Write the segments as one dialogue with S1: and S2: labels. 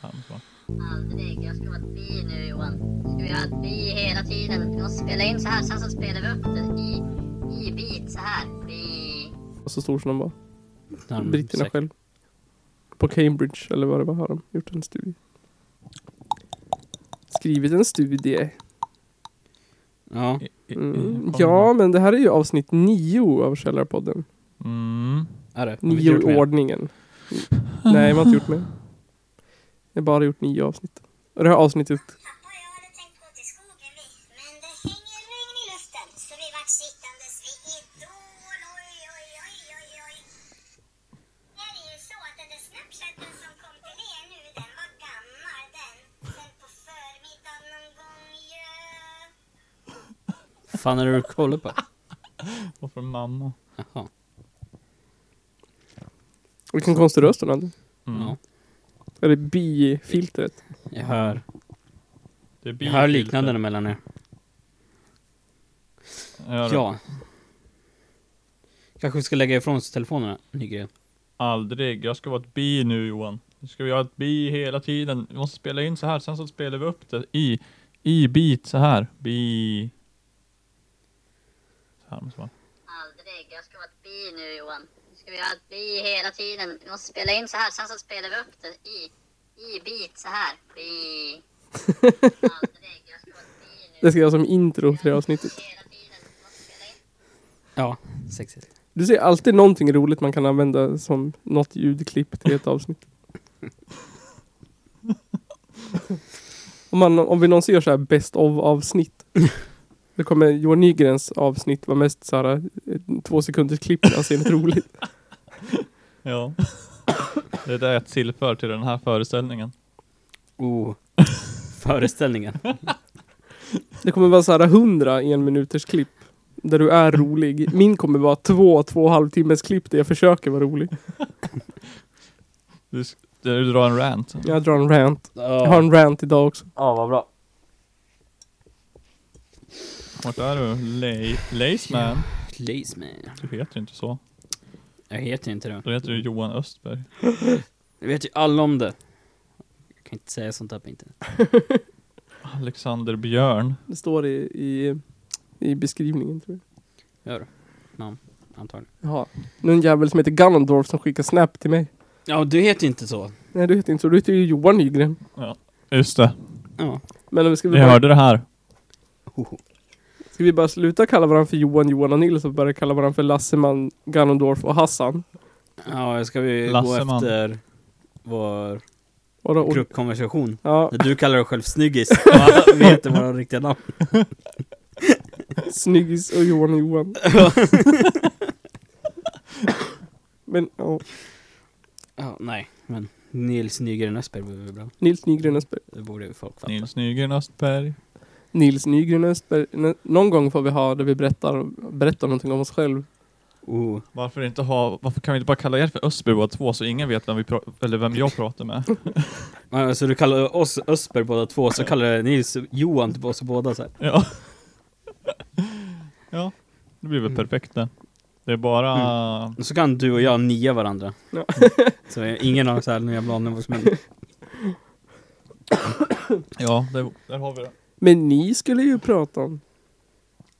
S1: sånt va?
S2: Aldrig. Jag ska vara ett bi nu Johan. Ska vi ha ett bi hela tiden? Vi måste spela in så här, sen så spelar vi upp det i, i bit så här. Bi.
S3: Och så stor som den var.
S4: Ja, men
S3: Britterna
S4: säkert.
S3: själv. På Cambridge eller vad det var har de gjort en studie. Skrivit en studie.
S4: Ja.
S1: I- i-
S3: Mm.
S1: kommer
S3: Ja,
S1: man-
S3: men det här är ju avsnitt nio av Källarpodden.
S1: Mm.
S4: Är det? Har vi inte
S3: Nio
S4: gjort
S3: i
S4: mer?
S3: ordningen. Mm. Nej, man har inte gjort mer. Jag har bara gjort nio avsnitt. Och det här avsnittet
S5: Pappa, jag hade tänkt gå till skogen vi, men det hänger regn i luften så vi vart sittandes vid Idol. Oj, oj, oj, oj, oj. Det är ju så att den där Snapchatten som kom till er nu, den var gammal den. Sen på förmiddagen någon gång ju.
S4: fan är det du kollar på?
S1: Och från mamma.
S4: Jaha.
S3: Vilken konstig röst hon hade.
S1: Mm.
S4: Ja.
S3: Eller bifiltret.
S4: Jag hör,
S1: Det är
S4: jag hör
S1: bifilter.
S4: liknande mellan er.
S1: Ja. det-
S4: Ja. Kanske vi ska lägga ifrån oss telefonerna, Nygren.
S1: Aldrig. Jag ska vara ett bi nu Johan. Nu ska vi ha ett bi hela tiden. Vi måste spela in så här, sen så spelar vi upp det i, i bit så här. Bi. Så här måste man.
S2: Aldrig. Jag ska vara ett bi nu Johan. Ska vi ha ett bi hela tiden? Vi måste spela in så här, sen så spelar vi upp det i, i bit så här. Bi. Aldrig. Jag ska vara ett bi nu
S3: Det ska jag som intro till det här avsnittet.
S2: hela tiden. Vi måste spela in.
S4: Ja, sexigt.
S3: Du ser alltid någonting roligt man kan använda som något ljudklipp till ett avsnitt. om, man, om vi någonsin gör så här best of avsnitt. Då kommer Johan Nygrens avsnitt vara mest så här eh, två sekunders klipp när han ser något roligt.
S1: Ja. Det är det jag tillför till den här föreställningen.
S4: Oh. Föreställningen.
S3: Det kommer vara så här hundra en minuters klipp. Där du är rolig. Min kommer vara två, två och en halv timmes klipp där jag försöker vara rolig.
S1: Du, sk- du drar en rant.
S3: Jag drar en rant. Jag har
S4: Ja,
S3: en rant idag också.
S4: vad bra.
S1: Vart är du? Lay, lace man?
S4: Please man.
S1: Du heter inte så.
S4: Jag heter inte det.
S1: Då heter du Johan Östberg.
S4: Det vet ju alla om det. Jag kan inte säga sånt här på internet.
S1: Alexander Björn.
S3: Det står i, i, i beskrivningen tror jag.
S4: Gör det. Namn, antagligen.
S3: Jaha. Någon jävel som heter Ganondorf som skickar snap till mig.
S4: Ja, du heter ju inte så.
S3: Nej du heter inte så, du heter ju Johan Nygren.
S1: Just det.
S4: Ja.
S3: Men om vi ska, vi
S1: Vi
S3: bara,
S1: hörde det här.
S4: Hoho.
S3: ska vi bara sluta kalla varandra för Johan, Johan och Nils och börja kalla varandra för Lasseman, Ganondorf och Hassan?
S4: Ja, jag ska vi gå
S1: Lasseman.
S4: efter vår
S3: Och då, och,
S4: gruppkonversation.
S3: ja,
S4: När du kallar dig själv snyggis och alla vet våra riktiga namn.
S3: Snyggis och Johan och Johan. Men ja,
S4: Ja, nej, men Nils Nygren Östberg vore väl bra.
S3: Nils Nygren Östberg.
S4: Det borde ju folk fatta.
S1: Nils Nygren Östberg.
S3: Nils Nygren Östberg. N- någon gång får vi ha där vi berättar, berättar någonting om oss själv.
S4: Oh.
S1: Varför inte ha, varför kan vi inte bara kalla er för Östberg båda två så ingen vet vem vi pra- eller vem jag pratar med?
S4: Ja, Så alltså, du kallar oss Östberg båda två, så kallar du Nils Johan till oss båda så här.
S1: Ja. ja, det blir
S3: Mm.
S1: väl perfekt det. Det är bara...
S4: Och Så kan du och jag nia varandra.
S3: Ja.
S4: Så ingen har så här någon jävla aning om vad som händer.
S1: Ja, det, där har vi det.
S3: Men ni skulle ju prata om...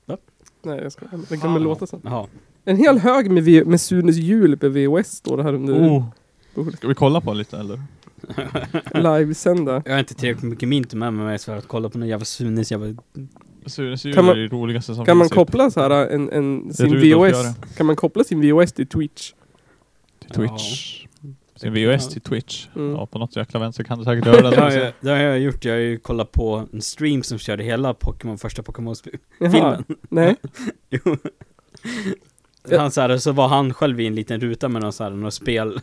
S4: Va?
S3: Nej jag skojar, det kan väl låta så.
S4: Jaha.
S3: En hel hög med, v- med Sunes jul på VHS står det här under
S1: Oh.
S3: bordet.
S1: Ska vi kolla på lite eller?
S3: Livesända.
S4: Jag har inte
S3: Mm.
S4: tillräckligt mycket mint med mig för att kolla på någon jävla Sunes jävla...
S1: Sunes jul
S3: Kan man-
S1: är det roligaste som
S3: Kan man
S1: finns.
S3: koppla så här en, en, sin
S1: Rudolf
S3: VHS? Kan man koppla sin VHS till Twitch?
S1: Till Twitch. Sin VHS till Twitch.
S3: Mm.
S1: Ja, på något jäkla vänster kan du säkert göra
S4: Det har,
S1: det.
S4: jag, det har jag gjort, jag har ju kollat på en stream som körde hela Pokémon, första Pokémon-spelet.
S3: Jaha.
S4: Filmen.
S3: Nej.
S4: Jo. Han så, här, så var han själv i en liten ruta med någon så här, några spel.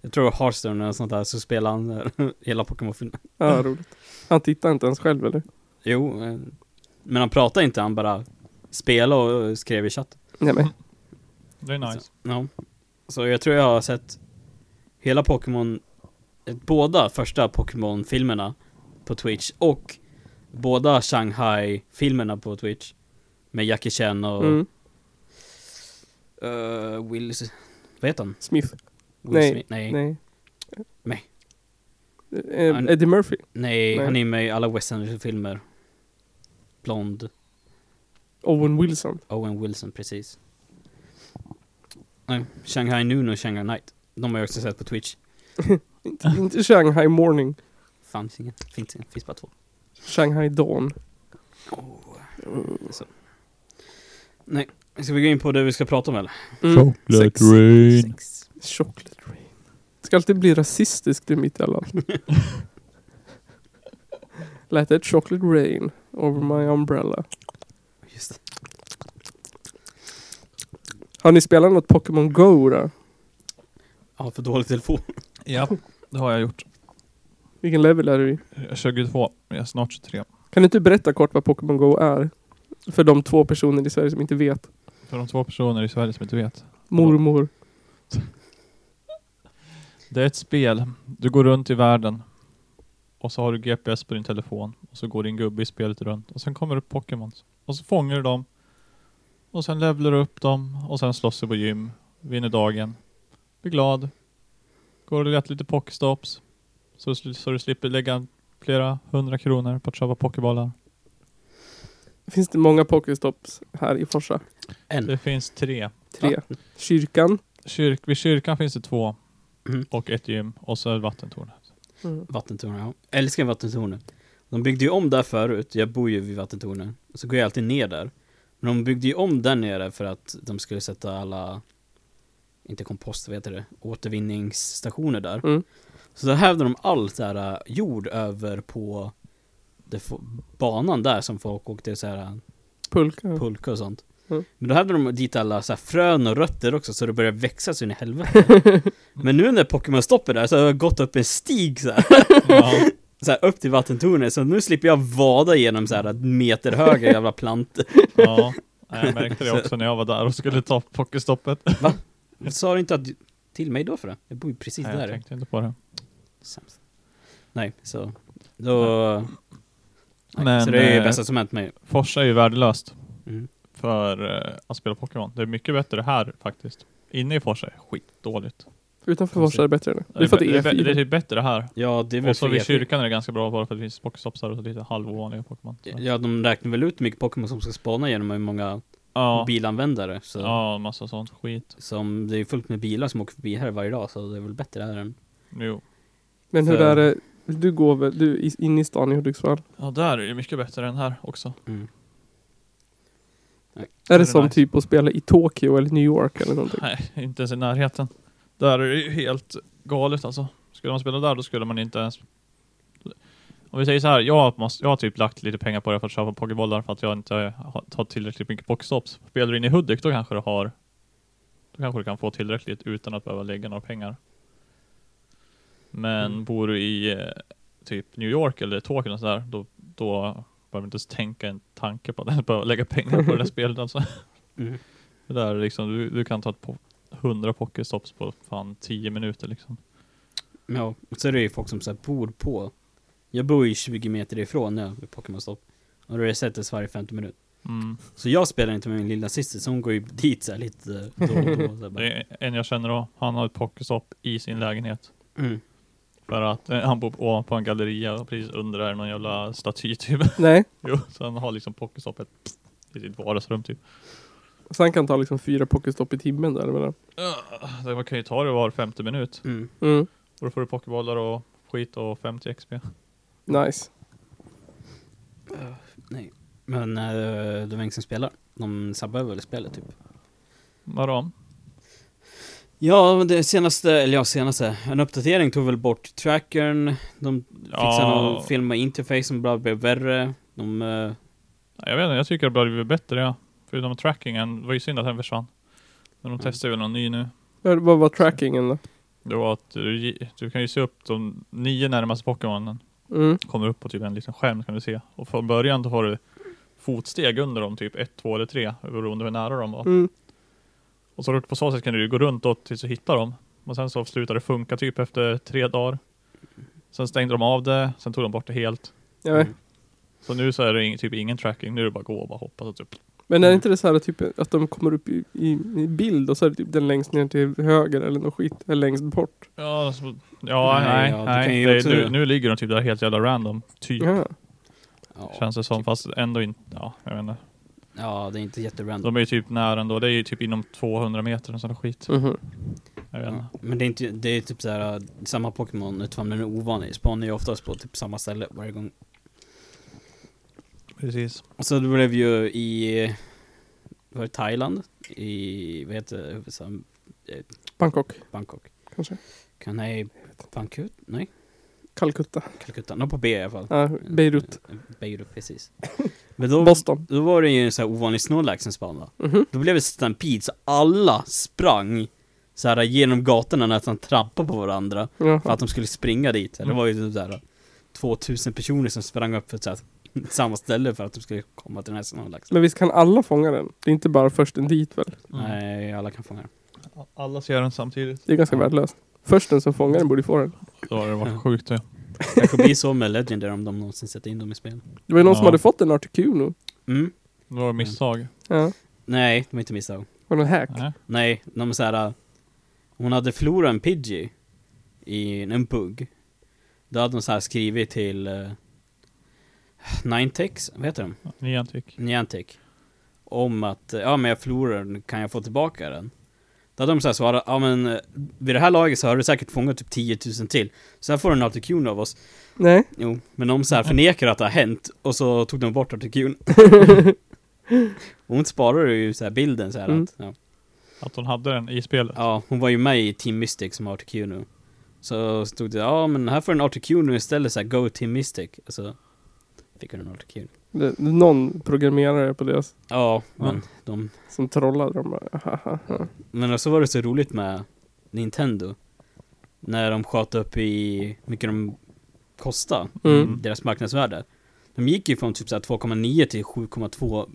S4: Jag tror det var Hearthstone eller sånt där, så spelade han eh, hela Pokémon-filmen.
S3: Ja, roligt. Han tittar inte ens själv eller?
S4: Jo, eh, men han pratade inte, han bara spelade och eh, skrev i chatten.
S3: Nej men.
S1: Det är nice.
S4: Ja. Så jag tror jag har sett hela Pokémon, eh, båda första Pokémon-filmerna på Twitch och båda Shanghai-filmerna på Twitch. Med Jackie Chan och
S3: Mm.
S4: eh, Will... S- Vad heter han?
S3: Smith.
S4: Will
S3: Nej,
S4: Smith? Nej.
S3: Nej.
S4: Nej.
S3: Eh, eh,
S4: Han-
S3: Eddie Murphy.
S4: Nej,
S3: Nej.
S4: han är med i alla Wes Anderson-filmer. Blond,
S3: Owen Wilson.
S4: Owen Wilson, precis. Nej, Shanghai Noon och Shanghai Night. De har jag också sett på Twitch.
S3: Inte, inte Shanghai Morning.
S4: Fanns ingen, finns ingen, finns bara två.
S3: Shanghai Dawn.
S4: Så. Nej, ska vi gå in på det vi ska prata om eller?
S3: Mm.
S4: Sex. Sex.
S3: Chocolate Rain. Ska alltid bli rasistiskt i mitt i alla avsnitt. Lät det Chocolate Rain over my umbrella.
S4: Just det.
S3: Har ni spelat något Pokémon Go då?
S4: Ja, för dålig telefon.
S1: Ja, det har jag gjort.
S3: Vilken level är du i?
S1: Jag är 22, men jag är snart 23.
S3: Kan du inte berätta kort vad Pokémon Go är? För de två personer i Sverige som inte vet.
S1: För de två personer i Sverige som inte vet.
S3: Mormor.
S1: Det är ett spel. Du går runt i världen. Och så har du GPS på din telefon. Och så går din gubbe i spelet runt. Och sen kommer det Pokémons. Och så fångar du dem. Och sen levlar du upp dem. Och sen slåss du på gym. Vinner dagen. Blir glad. Går och letar lite Pokestops. Så, du- så du slipper lägga flera hundra kronor på att köpa Pokébollar.
S3: Finns det många Pokéstops här i Forsa?
S4: En.
S1: Det finns tre.
S3: Tre. Kyrkan.
S1: Kyrk, vid kyrkan finns det två.
S4: Mhm.
S1: Och ett gym. Och så vattentornet.
S4: Mm. Vattentornet, ja. Älskar vattentornet. De byggde ju om där förut, jag bor ju vid vattentornet. Så går jag alltid ner där. Men de byggde ju om där nere för att de skulle sätta alla, inte kompost, vad heter det, återvinningsstationer där.
S3: Mm.
S4: Så där hävde de all så här äh, jord över på det, fo- banan där som folk åkte så här äh,
S3: Pulka.
S4: pulka och sånt.
S3: Mm.
S4: Men då hade de dit alla så här frön och rötter också så det började växa så in i helvete. Men nu när Pokémon stoppar där så har jag gått upp en stig så här
S1: Ja.
S4: så här, upp till vattentornet, så nu slipper jag vada genom så här meterhöga jävla plantor.
S1: Ja, jag märkte det också när jag var där och skulle ta pokestoppet.
S4: Sa du inte att, till mig då för det? Jag bor ju precis
S1: Nej, jag
S4: där.
S1: tänkte inte på det.
S4: Sämst. Nej, så då... Nej,
S1: Men,
S4: så det är ju
S1: eh,
S4: det bästa som hänt mig.
S1: Forsa är ju värdelöst
S4: Mm.
S1: för eh, att spela Pokémon. Det är mycket bättre här faktiskt. Inne i Forsa är skitdåligt.
S3: Utanför Forsa är det bättre nu. Det är för att E det är
S1: bä- det
S3: E4.
S1: är typ bättre här.
S4: Ja, det är väl
S1: Och så
S4: för E
S1: vid
S4: er-
S1: kyrkan är det ganska bra bara för att det finns pokestoppsar och lite halvovanliga Pokémon. Så-
S4: Ja, de räknar väl ut hur mycket Pokémon som ska spana genom hur många
S1: Ja,
S4: bilanvändare. Så,
S1: ja, massa sånt skit.
S4: som, det är ju fullt med bilar som åker förbi här varje dag, så det är väl bättre här än...
S1: Jo.
S3: Men hur
S4: för-
S3: är typ- det? Du går väl, du är is- inne i stan i Hudiksvall?
S1: Ja, där är det mycket bättre än här också.
S4: Mm.
S3: Är
S1: det
S3: det som
S1: nice?
S3: typ att spela i Tokyo eller New York eller någonting?
S1: Nej, inte ens i närheten. Där är det ju helt galet alltså. Skulle man spela där då skulle man inte ens... Om vi säger så här, jag, måste, jag har typ lagt lite pengar på det för att köpa pokébollar för att jag inte har har tillräckligt mycket pokestops. Spelar du in i Hudik då kanske du har... Då kanske du kan få tillräckligt utan att behöva lägga några pengar. Men bor du i eh, typ New York eller Tokyo och sådär, då, då behöver du inte ens tänka en tanke på att behöva lägga pengar på det där spelet alltså.
S4: Mm.
S1: Det där är liksom, du, du kan ta ett po 100 pokestops på fan 10 minuter liksom.
S4: Ja, och så är det ju folk som så här bor på. Jag bor ju 20 meter ifrån nu vid Pokémon Stop. Och då har jag sett det varje 50 minut.
S1: Mm.
S4: Så jag spelar inte med min lilla syster, så hon går ju dit så här lite då och då. Så här
S1: Det
S4: bara,
S1: är en jag känner då, han har ett pokestopp i sin lägenhet.
S4: mm.
S1: För att eh, han bor ovanpå en galleria och precis under är någon jävla staty typ.
S3: Nej.
S1: jo, så han har liksom pokestoppet i sitt vardagsrum typ.
S3: Så han kan ta liksom fyra pokestopp i timmen där mellan.
S1: Ah, så Man kan ju ta det var femte minut.
S4: Mm.
S3: Mm.
S1: Och då får du pokébollar och skit och 50 XP.
S3: Nice.
S4: Men äh, det var ingen som spelar. De sabbar väl spelet typ.
S1: Vadå?
S4: Ja, men det senaste, eller ja senaste, en uppdatering tog väl bort trackern. De fixade någon film och interface som bara blev värre. De, eh,
S1: Jag vet inte, jag tycker det börjar bli bättre ja. Förutom trackingen, det var ju synd att den försvann. Men de
S4: Mm.
S1: testar ju någon ny nu.
S3: Ja, Vad var trackingen då?
S1: Det var att du, ge- du kan ju se upp de nio närmaste Pokémonen.
S3: Mm.
S1: Kommer upp på typ en liten skärm kan du se. Och från början då har du fotsteg under dem, typ ett, två eller tre. Beroende hur nära de var.
S3: Mm.
S1: Och så på så sätt kan du ju gå runt då tills du hittar dem. Och sen så slutade det funka typ efter tre dagar. Sen stängde de av det, sen tog de bort det helt.
S3: Ja,
S4: Mm.
S1: Så nu så är det ing, typ ingen tracking, nu är det bara gå och bara hoppas att du
S3: Men är inte det så här typ att de kommer upp i, i, i bild och så är det typ den längst ner till höger eller något skit, eller längst bort?
S1: Ja, så, ja
S4: Nej,
S1: nej,
S4: ja,
S1: nej.
S4: det kan ju
S1: det,
S4: också-
S1: nu, nu ligger de typ där helt jävla random. Typ,
S3: Ja.
S4: Ja,
S1: känns det som. Fast ändå inte, ja jag vet inte.
S4: ja det är inte jätterandom.
S1: De är ju typ nära ändå. Det är ju typ inom 200 meter och sån skit.
S4: Mm.
S3: Mhm.
S1: Jag vet inte.
S4: Men det är inte, det är typ såhär, äh, samma Pokémon, utan den är ovanlig. Spawnar ju oftast på typ samma ställe varje gång.
S1: Precis.
S4: Och så det blev ju i, var det Thailand? I, vad heter det, huvudstaden?
S3: Bangkok
S4: Bangkok?
S3: kanske?
S4: Kan, nej, Bangkok? Nej,
S3: Calcutta?
S4: Calcutta. Någon på B i alla fall.
S3: Ja, Beirut?
S4: Beirut, precis. Men då,
S3: Boston?
S4: då var det ju en sån här ovanlig Snorlax som spanade.
S3: Mhm.
S4: Då blev det stampede, så alla sprang så här genom gatorna nästan trampade på varandra. För
S3: Jaha.
S4: att de skulle springa dit. Det var ju typ såhär 2000 personer som sprang upp för så här, samma ställe för att de skulle komma till den här liksom. Snorlaxen.
S3: Men visst kan alla fånga den? Det är inte bara försten dit väl?
S1: Mm.
S4: Nej, alla kan fånga den.
S1: Alla ser den samtidigt.
S3: Det är ganska värdelöst. Försten som fångar den borde ju få den.
S1: Då har det
S4: Ja.
S1: varit sjukt det.
S4: Kanske blir så med Legendary om de någonsin sätter in dem i spel.
S3: Det var ju någon som
S1: Ja.
S3: hade fått en Articuno.
S4: Mm.
S1: Det var ett misstag.
S3: Ja.
S4: Nej, de är inte misstag.
S3: Var den hack?
S1: Nej.
S4: Nej, de är såhär... Hon hade förlorat en Pidgey i en bugg. Då hade de så här skrivit till... Uh, Ninetex, vad heter de?
S1: Niantic.
S4: Niantic om att eh, ja men jag förlorar den, kan jag få tillbaka den? Då hade de så här svarat, ja men eh, vid det här laget så har du säkert fångat typ 10 000 till. Så här får du en autocune av oss.
S3: Nej.
S4: Jo, men de så här förnekar att det har hänt och så tog de bort autocune. Hon sparade ju så här bilden så här
S3: Mm.
S4: att, ja.
S1: Att hon hade den i spelet.
S4: ja, hon var ju med i Team Mystic som autocune. nu. Så stod det, ja men här får du en autocune istället så här, go Team Mystic. Och så fick hon en autocune.
S3: Det, det- någon programmerare på deras
S4: Ja, men
S1: Ja.
S4: de
S3: som trollade dem bara. "Hahaha."
S4: Men så var det så roligt med Nintendo När de sköt upp i hur mycket de kostade
S3: Mm.
S4: Deras marknadsvärde De gick ju från typ så här 2,9 till 7,2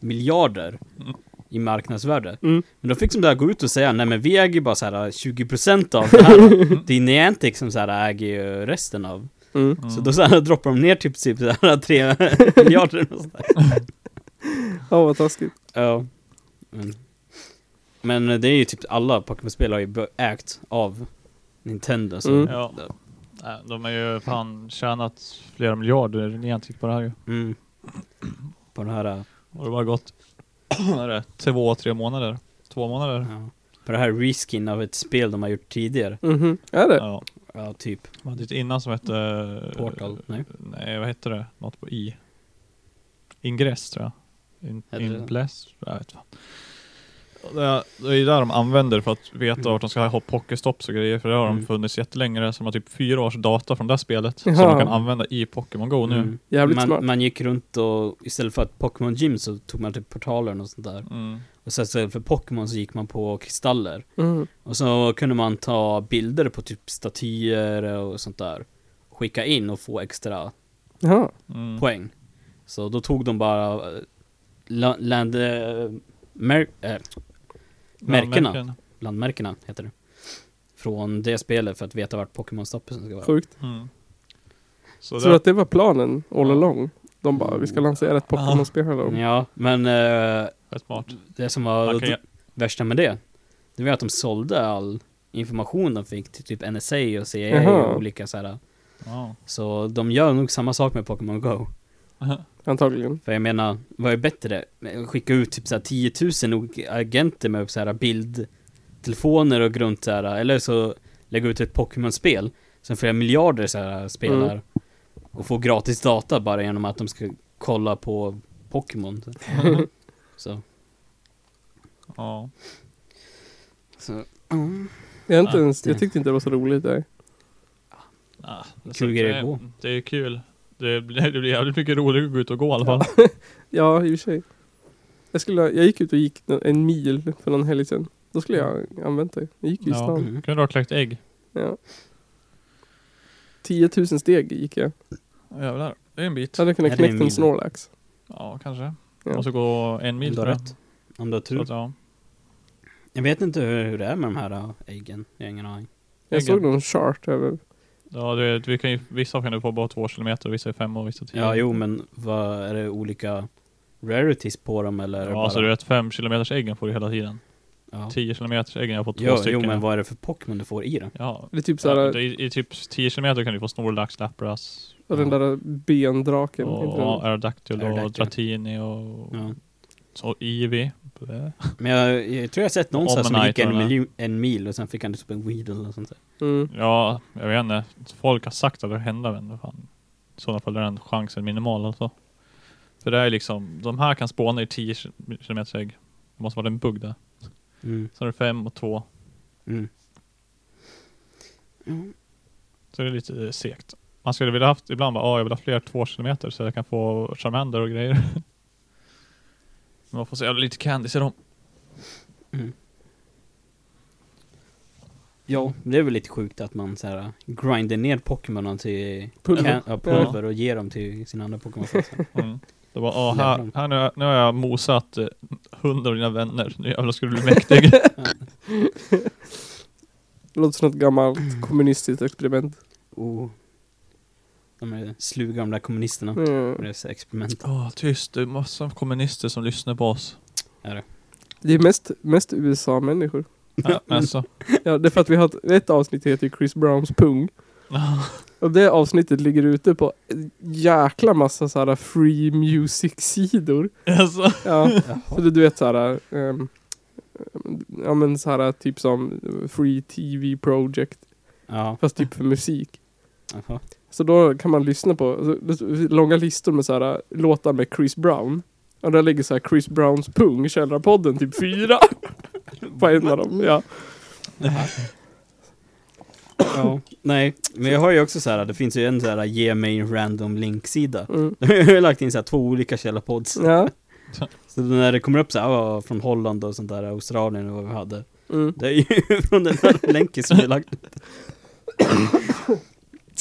S4: miljarder
S1: Mm.
S4: I marknadsvärde
S3: Mm.
S4: Men då fick de där gå ut och säga Nej men vi äger ju bara så här 20% av det här Det är Niantic som så här äger ju resten av
S3: Mm.
S1: Mm.
S4: Så då så här droppar de ner typ, typ så här 3 miljarder och så där.
S3: Ja, vad taskigt.
S4: Ja.
S3: Mm.
S4: Men, men det är ju typ alla Pokémon-spel har ju bö- ägt av Nintendo. Så.
S3: Mm.
S1: Ja. Nej, de har ju fan tjänat flera miljarder Niantic på det här ju.
S4: Mm. På det här, äh,
S1: Och det har bara gått vad är det, två, tre månader. Två månader.
S4: ja. på det här reskin av ett spel de har gjort tidigare.
S3: Mhm. Är det?
S1: Ja.
S4: Ja, typ
S1: De hade ett innan som hette...
S4: Portal. Nej.
S1: Nej, vad hette det? Något på I. Ingress tror jag. In,
S4: Heter det?
S1: ingress? Jag vet fan. Och Det är, det är ju där de använder för att veta
S4: Mm.
S1: vart de ska ha pokestops och grejer, för det har de
S4: Mm.
S1: funnits jättelänge. där, Så de har typ fyra års data från det här spelet som
S3: Jaha.
S1: de kan använda i Pokémon Go nu.
S4: Mm.
S3: Jävligt smart.
S4: Man, man gick runt och istället för att Pokémon Gym så tog man typ portaler och sånt där.
S1: Mm.
S4: Och så istället för Pokémon så gick man på kristaller.
S3: Mm.
S4: Och så kunde man ta bilder på typ statyer och sånt där. Skicka in och få extra
S3: Ja.
S1: Mm.
S4: poäng. Så då tog de bara eh, la- land, eh, mer, eh, märkena.
S1: Landmärken.
S4: landmärkena, heter det. Från det spelet för att veta vart Pokémon-stoppusen ska vara.
S3: Sjukt.
S1: Mm. Så
S3: Tror
S1: det,
S3: du att det var planen all along? De bara, vi ska lansera ett
S1: Mm. Ja.
S3: Pokémon-spel här då.
S4: Ja, men eh,
S1: är smart.
S4: det som
S1: Man
S4: var
S1: kan, ju-
S4: värsta med det, det var att de sålde all information de fick till typ NSA och CIA
S3: Jaha.
S4: och olika så här.
S1: ja.
S4: Så de gör nog samma sak med Pokémon Go.
S3: Antagligen.
S4: För jag menar, vad är bättre? Skicka ut typ så här 10 000 olika agenter med så här bildtelefoner och runt så här, eller så lägga ut ett Pokémon-spel som flera miljarder så här spelar
S3: Mm.
S4: och få gratis data bara genom att de ska kolla på Pokémon. så.
S1: ja.
S4: så.
S3: Jag, är inte
S4: Ja,
S3: ens, jag
S4: det-
S3: tyckte inte det var så roligt. Nej.
S1: Ah,
S4: Kul
S1: så
S4: grej
S1: det,
S4: att gå.
S1: Det är kul. Det blir, det blir jävligt mycket roligare att gå ut och gå i alla fall.
S3: Ja, i och för sig. Jag, skulle, jag gick ut och gick nå- en mil för någon helg sedan. Då skulle jag använt det. Jag gick ju i
S1: Ja.
S3: stan.
S4: Mm.
S1: Kunde du ha kläckt ägg?
S3: Ja. 10 000 steg gick jag.
S1: Jävlar, det är en bit.
S3: Jag hade
S4: Är
S3: kunnat
S4: det en
S3: knäcka en
S4: mil?
S3: Snorlax.
S1: Ja, kanske.
S3: Ja.
S1: Och så gå en mil
S4: du har
S1: tror jag.
S4: rätt. Om du har
S1: Så
S4: tur.
S1: att, ja.
S4: Jag vet inte hur, hur det är med de här äh, äggen. Jag har ingen aning.
S3: Jag
S1: Äggen.
S3: såg någon chart över.
S1: ja du vet, vi kan ju, vissa kan du få bara två kilometer, och vissa är fem och vissa tio.
S4: Ja, jo, men vad är det olika rarities på dem eller?
S1: Ja,
S4: bara...
S1: så du vet 5 kilometers äggen får du hela tiden.
S4: ja.
S1: 10 kilometers äggen, jag får två
S4: Jo, jo,
S1: stycken.
S4: men vad är det för Pokémon du får i den?
S1: Ja.
S3: Eller typ
S1: Ja,
S3: såhär,
S1: det- i, I typ 10 kilometer kan du få Snorlax, Lapras,
S3: den där bendraken. inte den?
S1: och Aerodactyl och
S4: Aerodactyl.
S1: Dratini och
S4: Ja.
S1: så Eevee. Blä.
S4: Men jag, jag tror jag har sett någon så här som
S1: Omnite
S4: gick
S1: och
S4: en,
S1: den här.
S4: miljon, en mil och sen fick han typ en Weedle eller sånt där.
S3: Mm.
S1: Ja, jag vet inte. Folk har sagt att det händer men vad fan. I sådana fall är den chansen minimal alltså. För det är liksom, de här kan spåna i 10 km ägg. Det måste vara en bugg där.
S4: Mm.
S1: Sen är det 5 och 2.
S4: Mm.
S1: Så det är lite eh, segt. Man skulle vilja haft ibland bara, ah, jag vill ha fler 2 km så jag kan få Charmander och grejer. Men man får så jävla lite candies i dem.
S4: Ja, det är väl lite sjukt att man så här äh, grindar ner Pokémonen till
S3: Pulver.
S4: Ja, pulver och ger dem till sina andra Pokémon.
S1: Mm. Det var, ah, här, här nu, har jag- nu har jag mosat eh, hundra av dina vänner. Nu jävlar ska du bli mäktig.
S3: Det låter som något gammalt kommunistiskt experiment.
S4: oh. De är sluga de där kommunisterna. Mm.
S3: Mm.
S4: Deras experiment.
S1: Åh, tyst. Det är massa kommunister som lyssnar på oss.
S3: Det är mest, mest USA-människor.
S1: Ja,
S3: Mm.
S1: alltså.
S3: Ja, det är för att vi har ett, ett avsnitt heter ju Chris Browns pung. Och det avsnittet ligger ute på en jäkla massa såhär free music-sidor.
S1: alltså.
S3: Ja, så det, du vet såhär, ehm, ja men såhär typ som free TV project,
S4: Ja.
S3: fast typ för musik.
S4: Jaha.
S3: Så då kan man lyssna på alltså, det- långa listor med så här, låtar med Chris Brown. Och där ligger så här Chris Browns pung, Källarpodden, typ fyra. på en av dem, ja.
S4: Ja. Nej, men jag har ju också så här, äh, det finns ju en så här ge mig en random link-sida.
S3: Mm.
S4: Jag har ju lagt in så här två olika källarpods.
S3: Ja.
S4: Så när det kommer upp så här, "Ah, från Holland och sånt där, Australien och vad vi hade.
S3: Mm.
S4: Det är ju från den här länken som vi lagt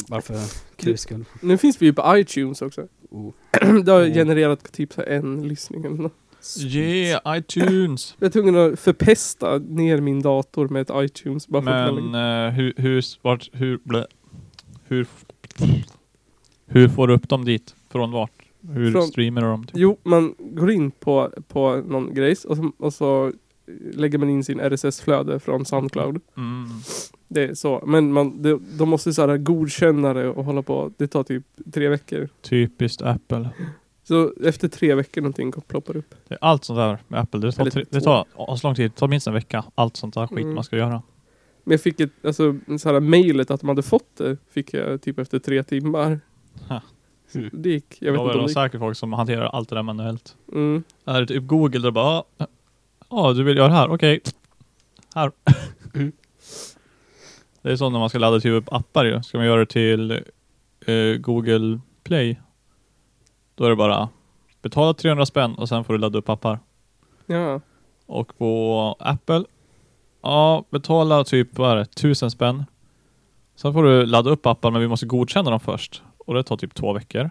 S4: Varför kruskul?
S3: Nu finns vi ju på iTunes också.
S4: Oh.
S3: det har genererat typ så här en lyssning eller nåt.
S1: Yeah, iTunes.
S3: Jag är tvungen att förpesta ner min dator med ett iTunes bara för att
S1: Men eh, hur, hur, vart, hur, blä, hur, hur får du upp dem dit? Från vart? Hur
S3: Från-
S1: streamar du dem? Typ?
S3: Jo, man går in på, på någon grejs och så, och så lägger man in sin RSS-flöde från Soundcloud.
S1: Mm.
S3: Det är så. Men man, de, de måste så här godkänna det och hålla på. Det tar typ tre veckor.
S1: Typiskt Apple.
S3: Så efter tre veckor någonting ploppar upp.
S1: Det är allt sånt där med Apple. Det tar,
S3: Eller
S1: tre,
S3: två.
S1: det tar så lång tid. Det tar minst en vecka. Allt sånt där skit
S3: Mm.
S1: man ska göra.
S3: Men jag fick ett, alltså så här mejlet att de hade fått det fick jag typ efter tre timmar.
S1: Ha.
S3: Så Det gick. Jag vet
S1: Då är
S3: inte om
S1: det
S3: det gick.
S1: säkert folk som hanterar allt det där manuellt.
S3: Mm.
S1: Är det typ Google där bara, ja, ja du vill göra det här, okej. Här.
S4: Mm.
S1: Det är som när man ska ladda typ upp appar ju. Ska man göra det till eh, Google Play, då är det bara betala 300 spänn och sen får du ladda upp appar.
S3: Ja.
S1: Och på Apple, ja betala typ, vad är det, 1000 spänn. Sen får du ladda upp appar men vi måste godkänna dem först. Och det tar typ två veckor.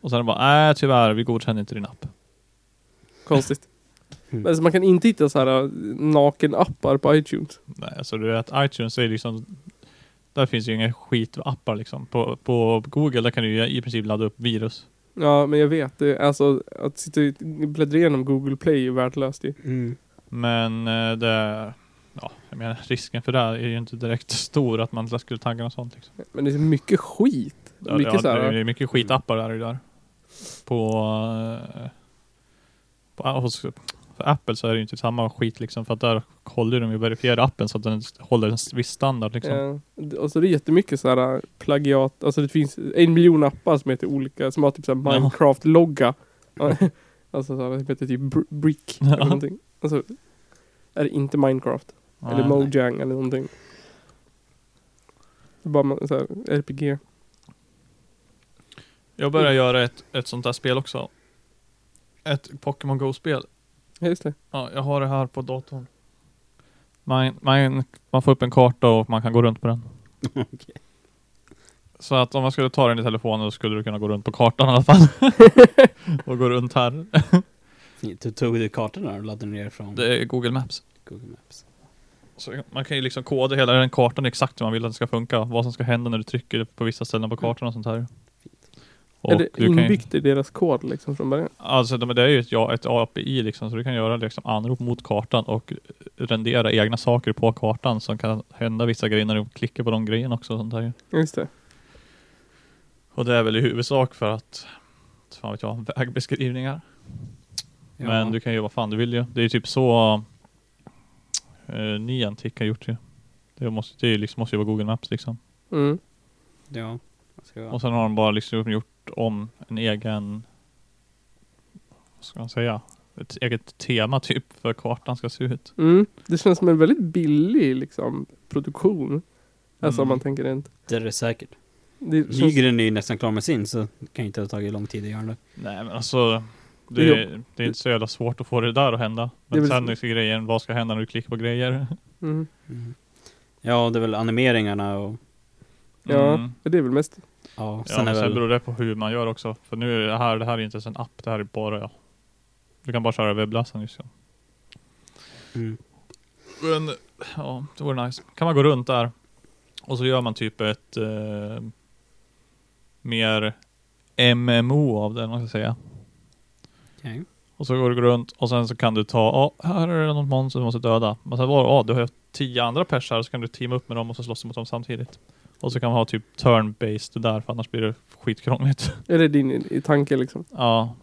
S1: Och sen är det bara, nej tyvärr, vi godkänner inte din app.
S3: Konstigt.
S4: Mm.
S3: Men alltså, man kan inte hitta så här äh, naken-appar på iTunes.
S1: Nej, alltså du vet iTunes är liksom Där finns ju inga skitappar liksom. På, på Google där kan du ju i princip ladda upp virus.
S3: Ja, men jag vet. Det, är- alltså att sitta och bläddra igenom Google Play är värdelöst ju.
S4: Mm.
S1: Men eh, det Ja, jag menar risken för det här är ju inte direkt stor att man skulle tagga något sånt liksom.
S3: Men det är mycket skit.
S1: Ja,
S3: mycket
S1: ja,
S3: så här,
S1: det är mycket skitappar där och där. På, eh, på eh, hos, för Apple så är det ju inte samma skit liksom för att där håller de ju verifierar appen så att den håller en viss standard liksom.
S3: Ja. Och så är det jättemycket så här äh, plagiat, alltså det finns en miljon appar som heter olika, som har typ så här
S1: Ja.
S3: Minecraft-logga. alltså så här, det heter typ Br- Brick
S1: Ja.
S3: eller någonting. Alltså, är det inte Minecraft? eller
S1: Nej.
S3: Mojang eller någonting. Det är Bara man- så här, RPG.
S1: Jag började göra ett, ett sånt där spel också. Ett Pokémon Go-spel.
S3: Ja, just det.
S1: Ja, jag har det här på datorn. Man, man, man får upp en karta och man kan gå runt på den.
S4: Okej.
S1: Så att om man skulle ta den i telefonen så skulle du kunna gå runt på kartan i alla fall. och gå runt här.
S4: Du tog du kartorna och laddade ner från
S1: Det är Google Maps.
S4: Google Maps?
S1: Så man kan ju liksom koda hela den Mm. kartan exakt hur man vill att den ska funka. Vad som ska hända när du trycker på vissa ställen på kartan och sånt här. Och
S3: är det
S1: du kan ju,
S3: inbyggt i deras kod liksom från början?
S1: alltså de- det är ju ett, ja, ett API liksom, så du kan göra liksom anrop mot kartan och rendera egna saker på kartan som kan hända vissa grejer när du klickar på de grejerna också. Och, sånt där. ju.
S3: Just det.
S1: och det är väl i huvudsak för att, fan vet jag, vägbeskrivningar. Men du kan ju vad fan du vill ju. Det är ju typ så uh, Niantic har gjort ju. Det, måste, det är ju liksom, måste ju vara Google Maps liksom.
S3: Mm.
S4: Ja. Vad ska det vara?
S1: Och sen har de bara liksom gjort om en egen, vad ska man säga, ett eget tema typ för hur kartan ska se ut.
S3: Mm. Det känns som en väldigt billig liksom, produktion. Alltså om
S1: Mm.
S3: man tänker rent.
S4: Det är det säkert.
S3: Det känns...
S4: Nygren är ju nästan klar med sin så det kan ju inte ha tagit lång tid att göra det.
S1: Nej men alltså, det, är- det är inte så jävla svårt att få det där att hända.
S3: Det är
S1: Men
S3: väl-
S1: sen är grejen, vad ska hända när du klickar på grejer?
S3: Mm.
S4: Ja, det är väl animeringarna och
S3: Ja,
S1: Mm.
S3: det är väl mest.
S4: ja,
S1: Ja,
S4: sen
S1: men
S4: är
S1: sen
S4: väl...
S1: beror det på hur man gör också. För nu är det här, det här är inte ens en app, det här är bara, ja. Du kan bara köra webbläsaren just ja.
S4: Mm.
S1: Men, ja, det vore nice. Kan man gå runt där och så gör man typ ett eh, mer MMO av det, eller vad man ska säga.
S4: okej.
S1: Och så går du runt och sen så kan du ta, ja, här är det något monster du måste döda. Men sen var ja, du har ju tio andra pers här så kan du teama upp med dem och så slåss mot dem samtidigt. Och så kan man ha typ turn-based där för annars blir det skitkrångligt.
S3: Är det din i- i tanke liksom?
S1: ja.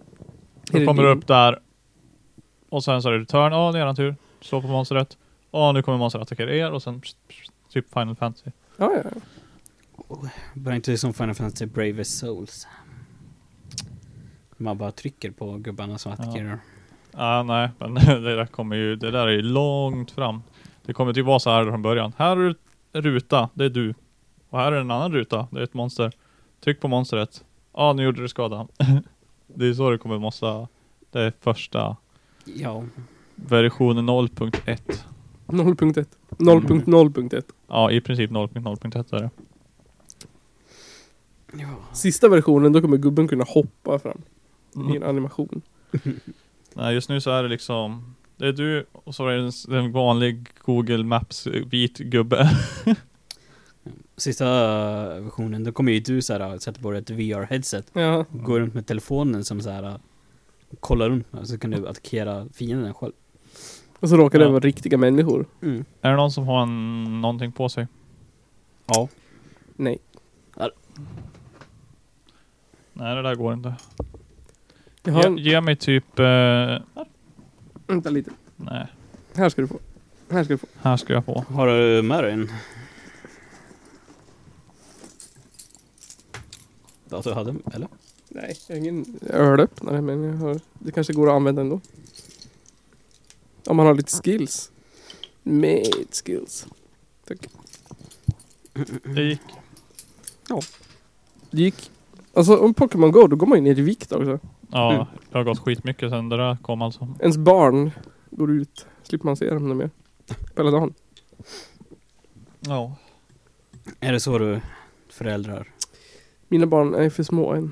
S3: Är
S1: Då
S3: det
S1: kommer du
S3: din-
S1: upp där och sen så är det turn, ja nu är eran tur. Slå på monstret. Ja nu kommer monstret attackera er och sen pst, pst, typ Final Fantasy.
S3: Ja, ja. ja.
S4: Bara inte som Final Fantasy Bravest Souls. Man bara trycker på gubbarna som attackerar.
S1: Ja, nej, men det där kommer ju, det där är ju långt fram. Det kommer typ vara så här från början. Här är en ruta, det är du. Och här är en annan ruta, det är ett monster. Tryck på monstret. Ja, nu gjorde du skada. det är så det kommer måste, det är första
S4: Ja.
S1: versionen 0.1.
S3: 0.1. 0.0.1.
S1: Ja, i princip 0.0.1 är det.
S4: ja.
S3: Sista versionen, då kommer gubben kunna hoppa fram
S1: Mm.
S3: i en animation.
S1: Nej, just nu så är det liksom Det är du och så är det en, s- en vanlig Google Maps eh, vit gubbe.
S4: Sista eh, versionen, då kommer ju du så här, eh, sätta på dig ett VR-headset.
S3: Ja.
S4: Gå runt med telefonen som så här eh, kollar runt och så kan du attackera fienden själv.
S3: Och så råkar det
S1: Ja.
S3: vara riktiga människor.
S4: Mm.
S1: är det någon som har en, någonting på sig?
S4: Ja.
S3: Nej.
S1: Nej, det där går inte.
S3: Jag har
S1: Ge,
S3: en...
S1: ge mig typ... Eh,
S3: Vänta lite.
S1: nej,
S3: Här ska du få. Här ska du få.
S1: här ska jag få.
S4: Har du med dig en? Dator Alltså, hade, eller?
S3: Nej, jag har ingen ölöppnare men jag har... det kanske går att använda ändå. Om man har lite skills. Med skills.
S1: Det gick.
S3: Det gick... Alltså om Pokémon Go, då går man ju ner i vikt också.
S1: Ja,
S4: Mm.
S1: det har gått skitmycket sen det där kom alltså.
S3: Ens barn går ut. Slipper man se dem mer. På hela dagen.
S1: Ja.
S4: Är det så du föräldrar?
S3: Mina barn är för små än.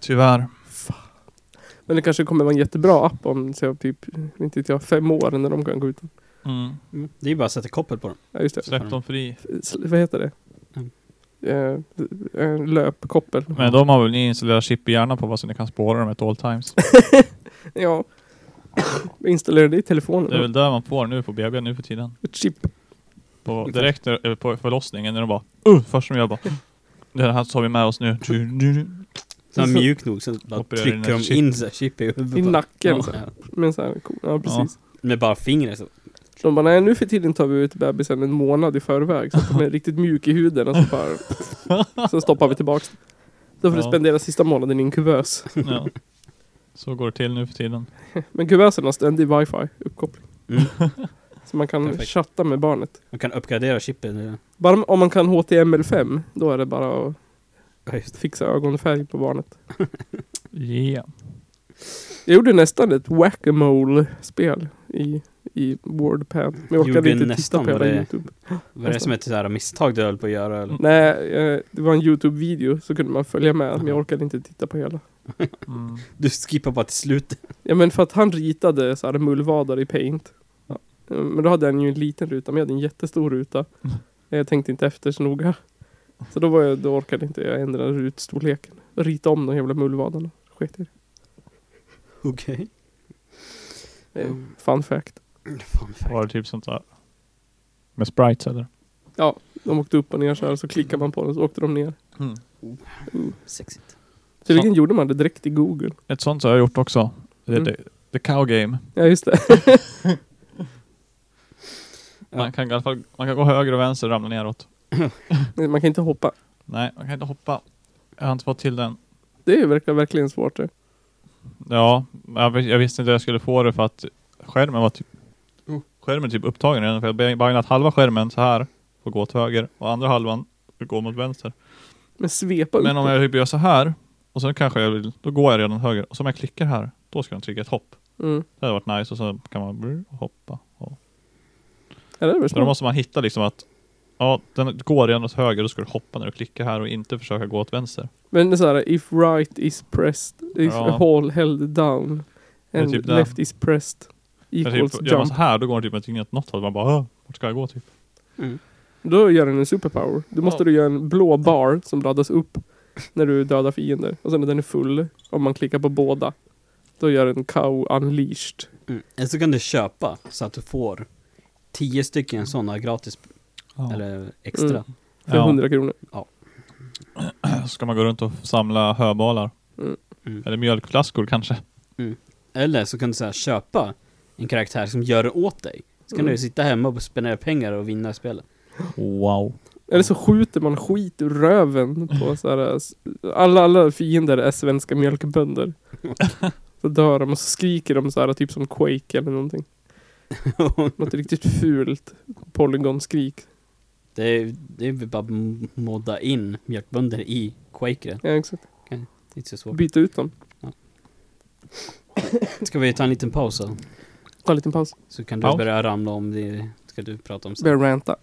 S1: Tyvärr.
S3: Men det kanske kommer vara en jättebra app om så, typ, inte vet jag, fem år när de kan gå ut.
S1: Mm.
S4: Det är ju bara att sätta koppel på dem.
S3: Ja, just det.
S1: Släpp dem fri.
S3: S- Vad heter det?
S4: Mm.
S3: Eh, eh, löpkoppel.
S1: Men de har väl ni installerat chip i hjärnan på vad så ni kan spåra dem at all times.
S3: Ja. Jag installerade det i telefonen.
S1: Det är väl där man får nu på BB nu för tiden.
S3: Ett chip.
S1: på, direkt när, eh, på förlossningen när de bara uh, först som jag bara Det här tar vi med oss nu. Du, du, du.
S4: Så här
S3: Så-
S4: mjuk nog så bara
S1: Opererar
S4: trycker
S1: in ett
S4: de in så här chip i huvudet.
S3: I
S4: bara.
S3: nacken.
S4: Ja.
S3: Så, med en sån här ko- Ja, precis.
S4: Med bara fingret så.
S3: De bara, nej nu för tiden tar vi ut bebisen en månad i förväg. Så att de är riktigt mjuk i huden. Och så, bara, så stoppar vi tillbaks. Då får du
S1: Ja.
S3: spendera sista månaden i en kuvös.
S1: Ja. Så går det till nu för tiden.
S3: Men kuvösen har ständig wifi uppkoppling.
S4: Mm.
S3: Så man kan
S4: Perfekt.
S3: chatta med barnet.
S4: Man kan uppgradera chippet.
S3: Bara om- om man kan HTML5, då är det bara att
S4: Ja, just det.
S3: fixa ögonfärg på barnet.
S1: Yeah.
S3: Jag gjorde nästan ett whack-a-mole spel i, i WordPad. Men jag
S4: Gjorde
S3: orkade inte titta
S4: nästan
S3: på hela
S4: vad det-
S3: YouTube.
S4: Var det som ett så här misstag du höll på att göra
S1: Mm.
S4: eller?
S3: Nej, eh, det var en YouTube-video så kunde man följa med, men jag orkade inte titta på hela.
S1: Mm.
S4: Du skippar bara till slutet.
S3: Ja men för att han ritade så här mullvadar i paint. Eh, Men då hade han ju en liten ruta, men jag hade en jättestor ruta. Eh, Jag tänkte inte efter så noga. Så då, var jag, då orkade inte jag ändra rutstorleken. Rita om de jävla mullvadarna. Skit i
S4: Okej.
S3: det. Eh, Fun fact.
S1: Var det typ sånt där? Med sprites eller?
S3: Ja, de åkte upp och ner så här så klickar man på den så åkte de ner.
S1: Mm.
S4: Sexigt.
S3: Tydligen gjorde man det direkt i Google.
S1: Ett sånt har jag gjort också. Det,
S3: Mm.
S1: det, the cow game.
S3: Ja just det.
S1: Man kan i alla fall man kan gå höger och vänster och ramla neråt.
S3: Nej, Man kan inte hoppa.
S1: Nej, man kan inte hoppa. Jag har inte fått till den.
S3: Det är verkligen, verkligen svårt eh. det.
S1: Ja, jag, vis- jag visste inte hur jag skulle få det för att skärmen var typ Skärmen är typ upptagen redan för jag har bagnat halva skärmen så här och gå åt höger och andra halvan går mot vänster.
S3: Men svepa upp
S1: Men om
S3: den.
S1: jag typ gör så här och sen kanske jag vill, då går jag redan höger och så om jag klickar här, då ska den trycka ett hopp.
S3: Mm.
S1: Det hade varit nice och så kan man brr, hoppa. Och.
S3: Ja, det är väl
S1: Men då
S3: smart.
S1: måste man hitta liksom att ja, den går redan åt höger, då ska du hoppa när du klickar här och inte försöka gå åt vänster.
S3: Men så här, if right is pressed, if
S1: Ja.
S3: all held down
S1: Det är
S3: and
S1: typ det.
S3: left is pressed
S1: Men
S3: equals
S1: typ, gör man
S3: jump.
S1: så här, då går det typ inte åt något håll. Man bara, "Åh, vart ska jag gå typ?
S4: Mm.
S3: Då gör den en superpower. Då måste du göra en blå bar som laddas upp när du dödar fiender. Och sen när den är full, om man klickar på båda, då gör den cow unleashed.
S4: Mm. Eller så kan du köpa så att du får 10 stycken sådana gratis eller extra.
S3: Mm. För 100 kronor.
S1: Så ska man gå runt och samla höbalar.
S3: Mm.
S4: Mm.
S1: Eller mjölkflaskor kanske.
S4: Eller så kan du så här, köpa en karaktär som gör det åt dig. Så kan
S3: Mm.
S4: du sitta hemma och spendera pengar och vinna spelet.
S1: Wow.
S3: Eller så skjuter man skit ur röven på så här, s- alla, alla fiender är svenska mjölkbönder. Så dör de och så skriker de så här typ som Quake eller någonting. Något riktigt fult polygonskrik.
S4: det, är, det är väl bara att modda in mjölkbönder i Quakeren.
S3: Ja, exakt.
S4: Det är inte så svårt.
S3: Byta ut dem.
S4: Ska vi ta en liten paus då?
S3: Ta en liten paus.
S4: Så kan du
S1: Paus.
S4: börja ramla om det ska du prata om sen.
S3: Börja ranta.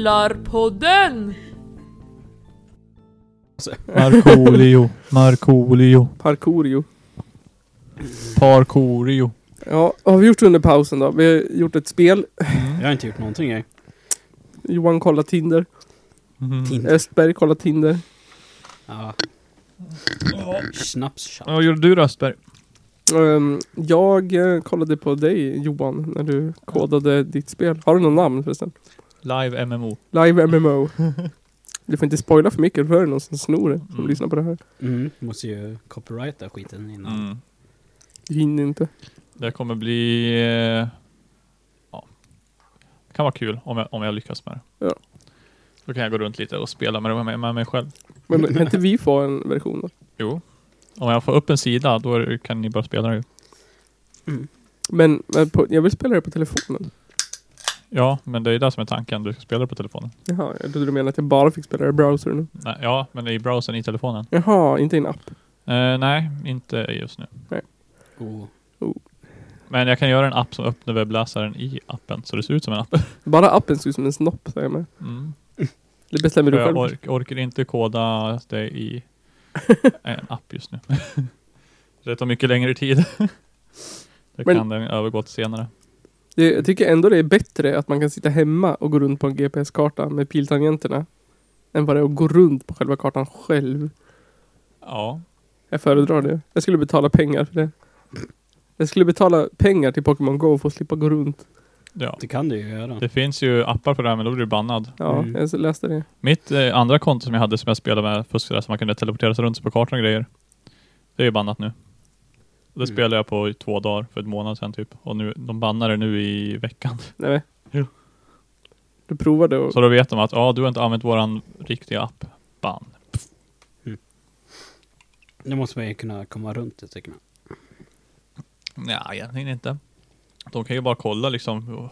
S6: Källarpodden!
S1: Markoolio. Markoolio.
S3: Parkourio.
S1: Parkoolio.
S3: Ja, vad har vi gjort under pausen då? Vi har gjort ett spel.
S4: Jag har inte gjort någonting jag.
S3: Johan kollar Tinder.
S1: Mm.
S4: Tinder.
S3: Östberg kollar Tinder.
S4: Ja. Snaps
S1: Vad gjorde du då Östberg?
S3: Ehm, jag eh, kollade på dig Johan när du kodade ditt spel. Har du något namn förresten?
S1: Live MMO.
S3: Live MMO. Du får inte spoila för mycket, för det är någon som snor det, som
S1: Mm.
S3: lyssnar på det här.
S4: Mm, måste ju copyrighta skiten innan.
S1: Mm.
S3: Du hinner inte.
S1: Det kommer bli... Eh, ja. Det kan vara kul om jag, om jag lyckas med det.
S3: Ja.
S1: Då kan jag gå runt lite och spela med, med, med mig själv.
S3: Men kan inte vi få en version då?
S1: Jo. Om jag får upp en sida, då är det- kan ni bara spela det. ju.
S3: Men, men på, jag vill spela det på telefonen.
S1: Ja, men det är det som är tanken. Du ska spela det på telefonen.
S3: Jaha, jag trodde du menade att jag bara fick spela det i browsern. nu.
S1: Nej, ja, men i browsern i telefonen.
S3: Jaha, inte i en app.
S1: Eh, nej, inte just nu.
S4: Oh.
S1: Men jag kan göra en app som öppnar webbläsaren i appen, så det ser ut som en app.
S3: Bara appen ser ut som en snopp, säger jag med.
S1: Mm.
S3: Det bestämmer du
S1: Jag
S3: själv.
S1: ork, orkar inte koda det i en app just nu. det tar mycket längre tid. det
S3: Men-
S1: kan den övergå till senare.
S3: Det, jag tycker ändå det är bättre att man kan sitta hemma och gå runt på en GPS-karta med piltangenterna. Än vad det är att gå runt på själva kartan själv.
S1: Ja,
S3: Jag föredrar det. Jag skulle betala pengar för det. Jag skulle betala pengar till Pokémon Go för att slippa gå runt.
S1: ja.
S4: Det kan du ju göra.
S1: Det finns ju appar för det här, men då blir du bannad.
S3: Ja,
S4: Mm.
S3: jag läste det.
S1: Mitt eh, andra konto som jag hade som jag spelade med fuskare som man kunde teleportera sig runt på kartan och grejer. Det är ju bannat nu. Det
S4: Mm.
S1: spelade jag på i två dagar för ett månad sedan typ. Och nu, de bannar det nu i veckan.
S3: Nej.
S1: Jo.
S3: Du provade och...
S1: Så då vet de att ja, du har inte använt våran riktiga app. Bann.
S4: Nu måste man ju kunna komma runt det tycker man.
S1: Nej, egentligen inte. De kan ju bara kolla liksom.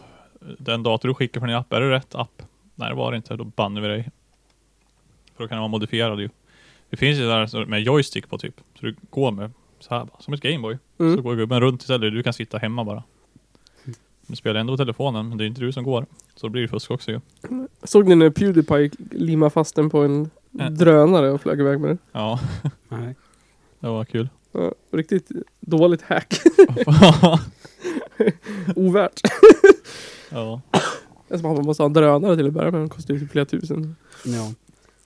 S1: Den dator du skickar från din app, är det rätt app? Nej, det var det inte. Då bannar vi dig. För då kan den vara modifierad ju. Det finns ju där så- med joystick på typ. Så du går med så här bara, som ett Gameboy.
S3: Mm.
S1: Så går gubben runt istället. Du kan sitta hemma bara. Du spelar ändå på telefonen, men det är inte du som går. Så då blir det fusk också ju.
S3: Såg ni när Pewdiepie limmade fast den på en
S1: Nej.
S3: drönare och flög iväg med den?
S1: Ja,
S4: Nej.
S1: det var kul.
S3: Ja, riktigt dåligt hack. Ovärt.
S1: Ja.
S3: Det är som att man måste ha en drönare till att börja med. Den kostar ju typ flera tusen.
S4: Ja.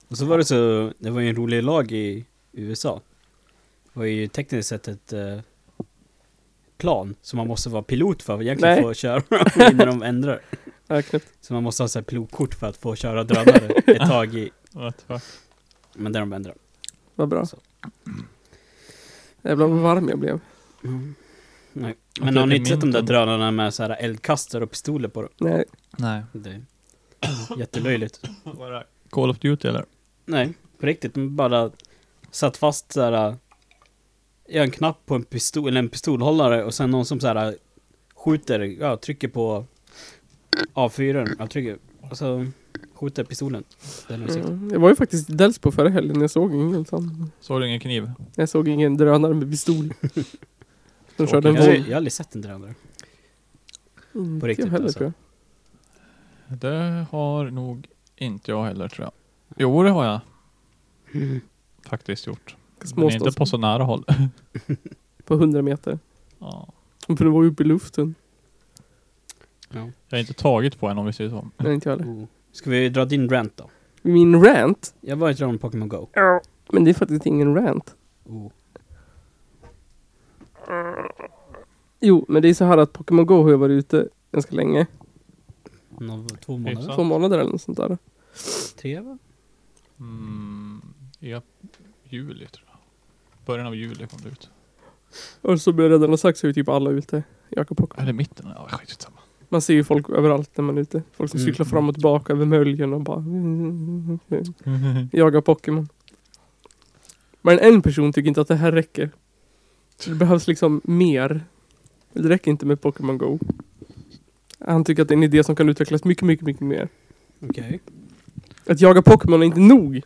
S4: Och så var det så, det var ju en rolig lag i USA. Det var ju tekniskt sett ett eh, plan som man måste vara pilot för att egentligen
S3: Nej.
S4: få köra innan de ändrar.
S3: Ja, knäppt.
S4: Så man måste ha så här pilotkort för att få köra drönare ett tag i,
S1: What the fuck.
S4: men där de ändrar.
S3: Vad bra.
S4: Så.
S3: Jävlar vad varm jag blev.
S4: Nej.
S1: Och
S4: Men har ni
S1: det är
S4: inte sett de där
S1: minton.
S4: drönarna med så här eldkastare och pistoler på dem?
S3: Nej.
S1: Nej.
S4: Det är jättelöjligt.
S1: Vad är det? Call of Duty eller?
S4: Nej, på riktigt. De bara satt fast så här i en knapp på en pistol, eller en pistolhållare och sen någon som så här skjuter, ja, trycker på A4, ja, trycker, och så skjuter pistolen. Den är mm.
S3: Mm. Jag var ju faktiskt i Delsbo förra helgen. Jag såg ingen sån.
S1: Såg du ingen kniv?
S3: Jag såg ingen drönare med pistol. De körde en
S4: jag, har-
S3: våld.
S4: jag har aldrig sett en drönare.
S3: Inte
S4: riktigt
S3: jag heller
S4: alltså.
S3: tror jag.
S1: Det har nog inte jag heller tror jag. Jo det har jag. Faktiskt gjort. Men
S3: Småstads-
S1: inte på så nära håll.
S3: på 100 meter.
S1: ja.
S3: För det var ju uppe i luften.
S4: Ja.
S1: Jag har inte tagit på en om vi säger så.
S3: Nej, inte jag heller.
S1: Mm.
S4: Oh. Ska vi dra din rant då?
S3: Min rant.
S4: Jag var inte om Pokémon Go.
S3: Men det är faktiskt ingen rant.
S4: Oh.
S3: Jo, men det är så här att Pokémon Go har ju varit ute ganska länge.
S4: Nå- Två månader?
S1: Hyfsat.
S3: Två månader eller något sånt där.
S4: Tre va?
S1: Mm, I ap- juli tror jag. Början av juli kom det ut.
S3: Och som jag redan har sagt så är ju typ alla ute. i Acapulco.
S1: Eller mitten? Ja skitsamma.
S3: Man ser ju folk överallt när man är ute. Folk som
S4: Mm.
S3: cyklar fram och tillbaka över möljen och bara jagar Pokémon. Men en person tycker inte att det här räcker. Så det behövs liksom mer. Det räcker inte med Pokémon Go. Han tycker att det är en idé som kan utvecklas mycket, mycket, mycket mer.
S4: Okej.
S3: Att jaga Pokémon är inte nog,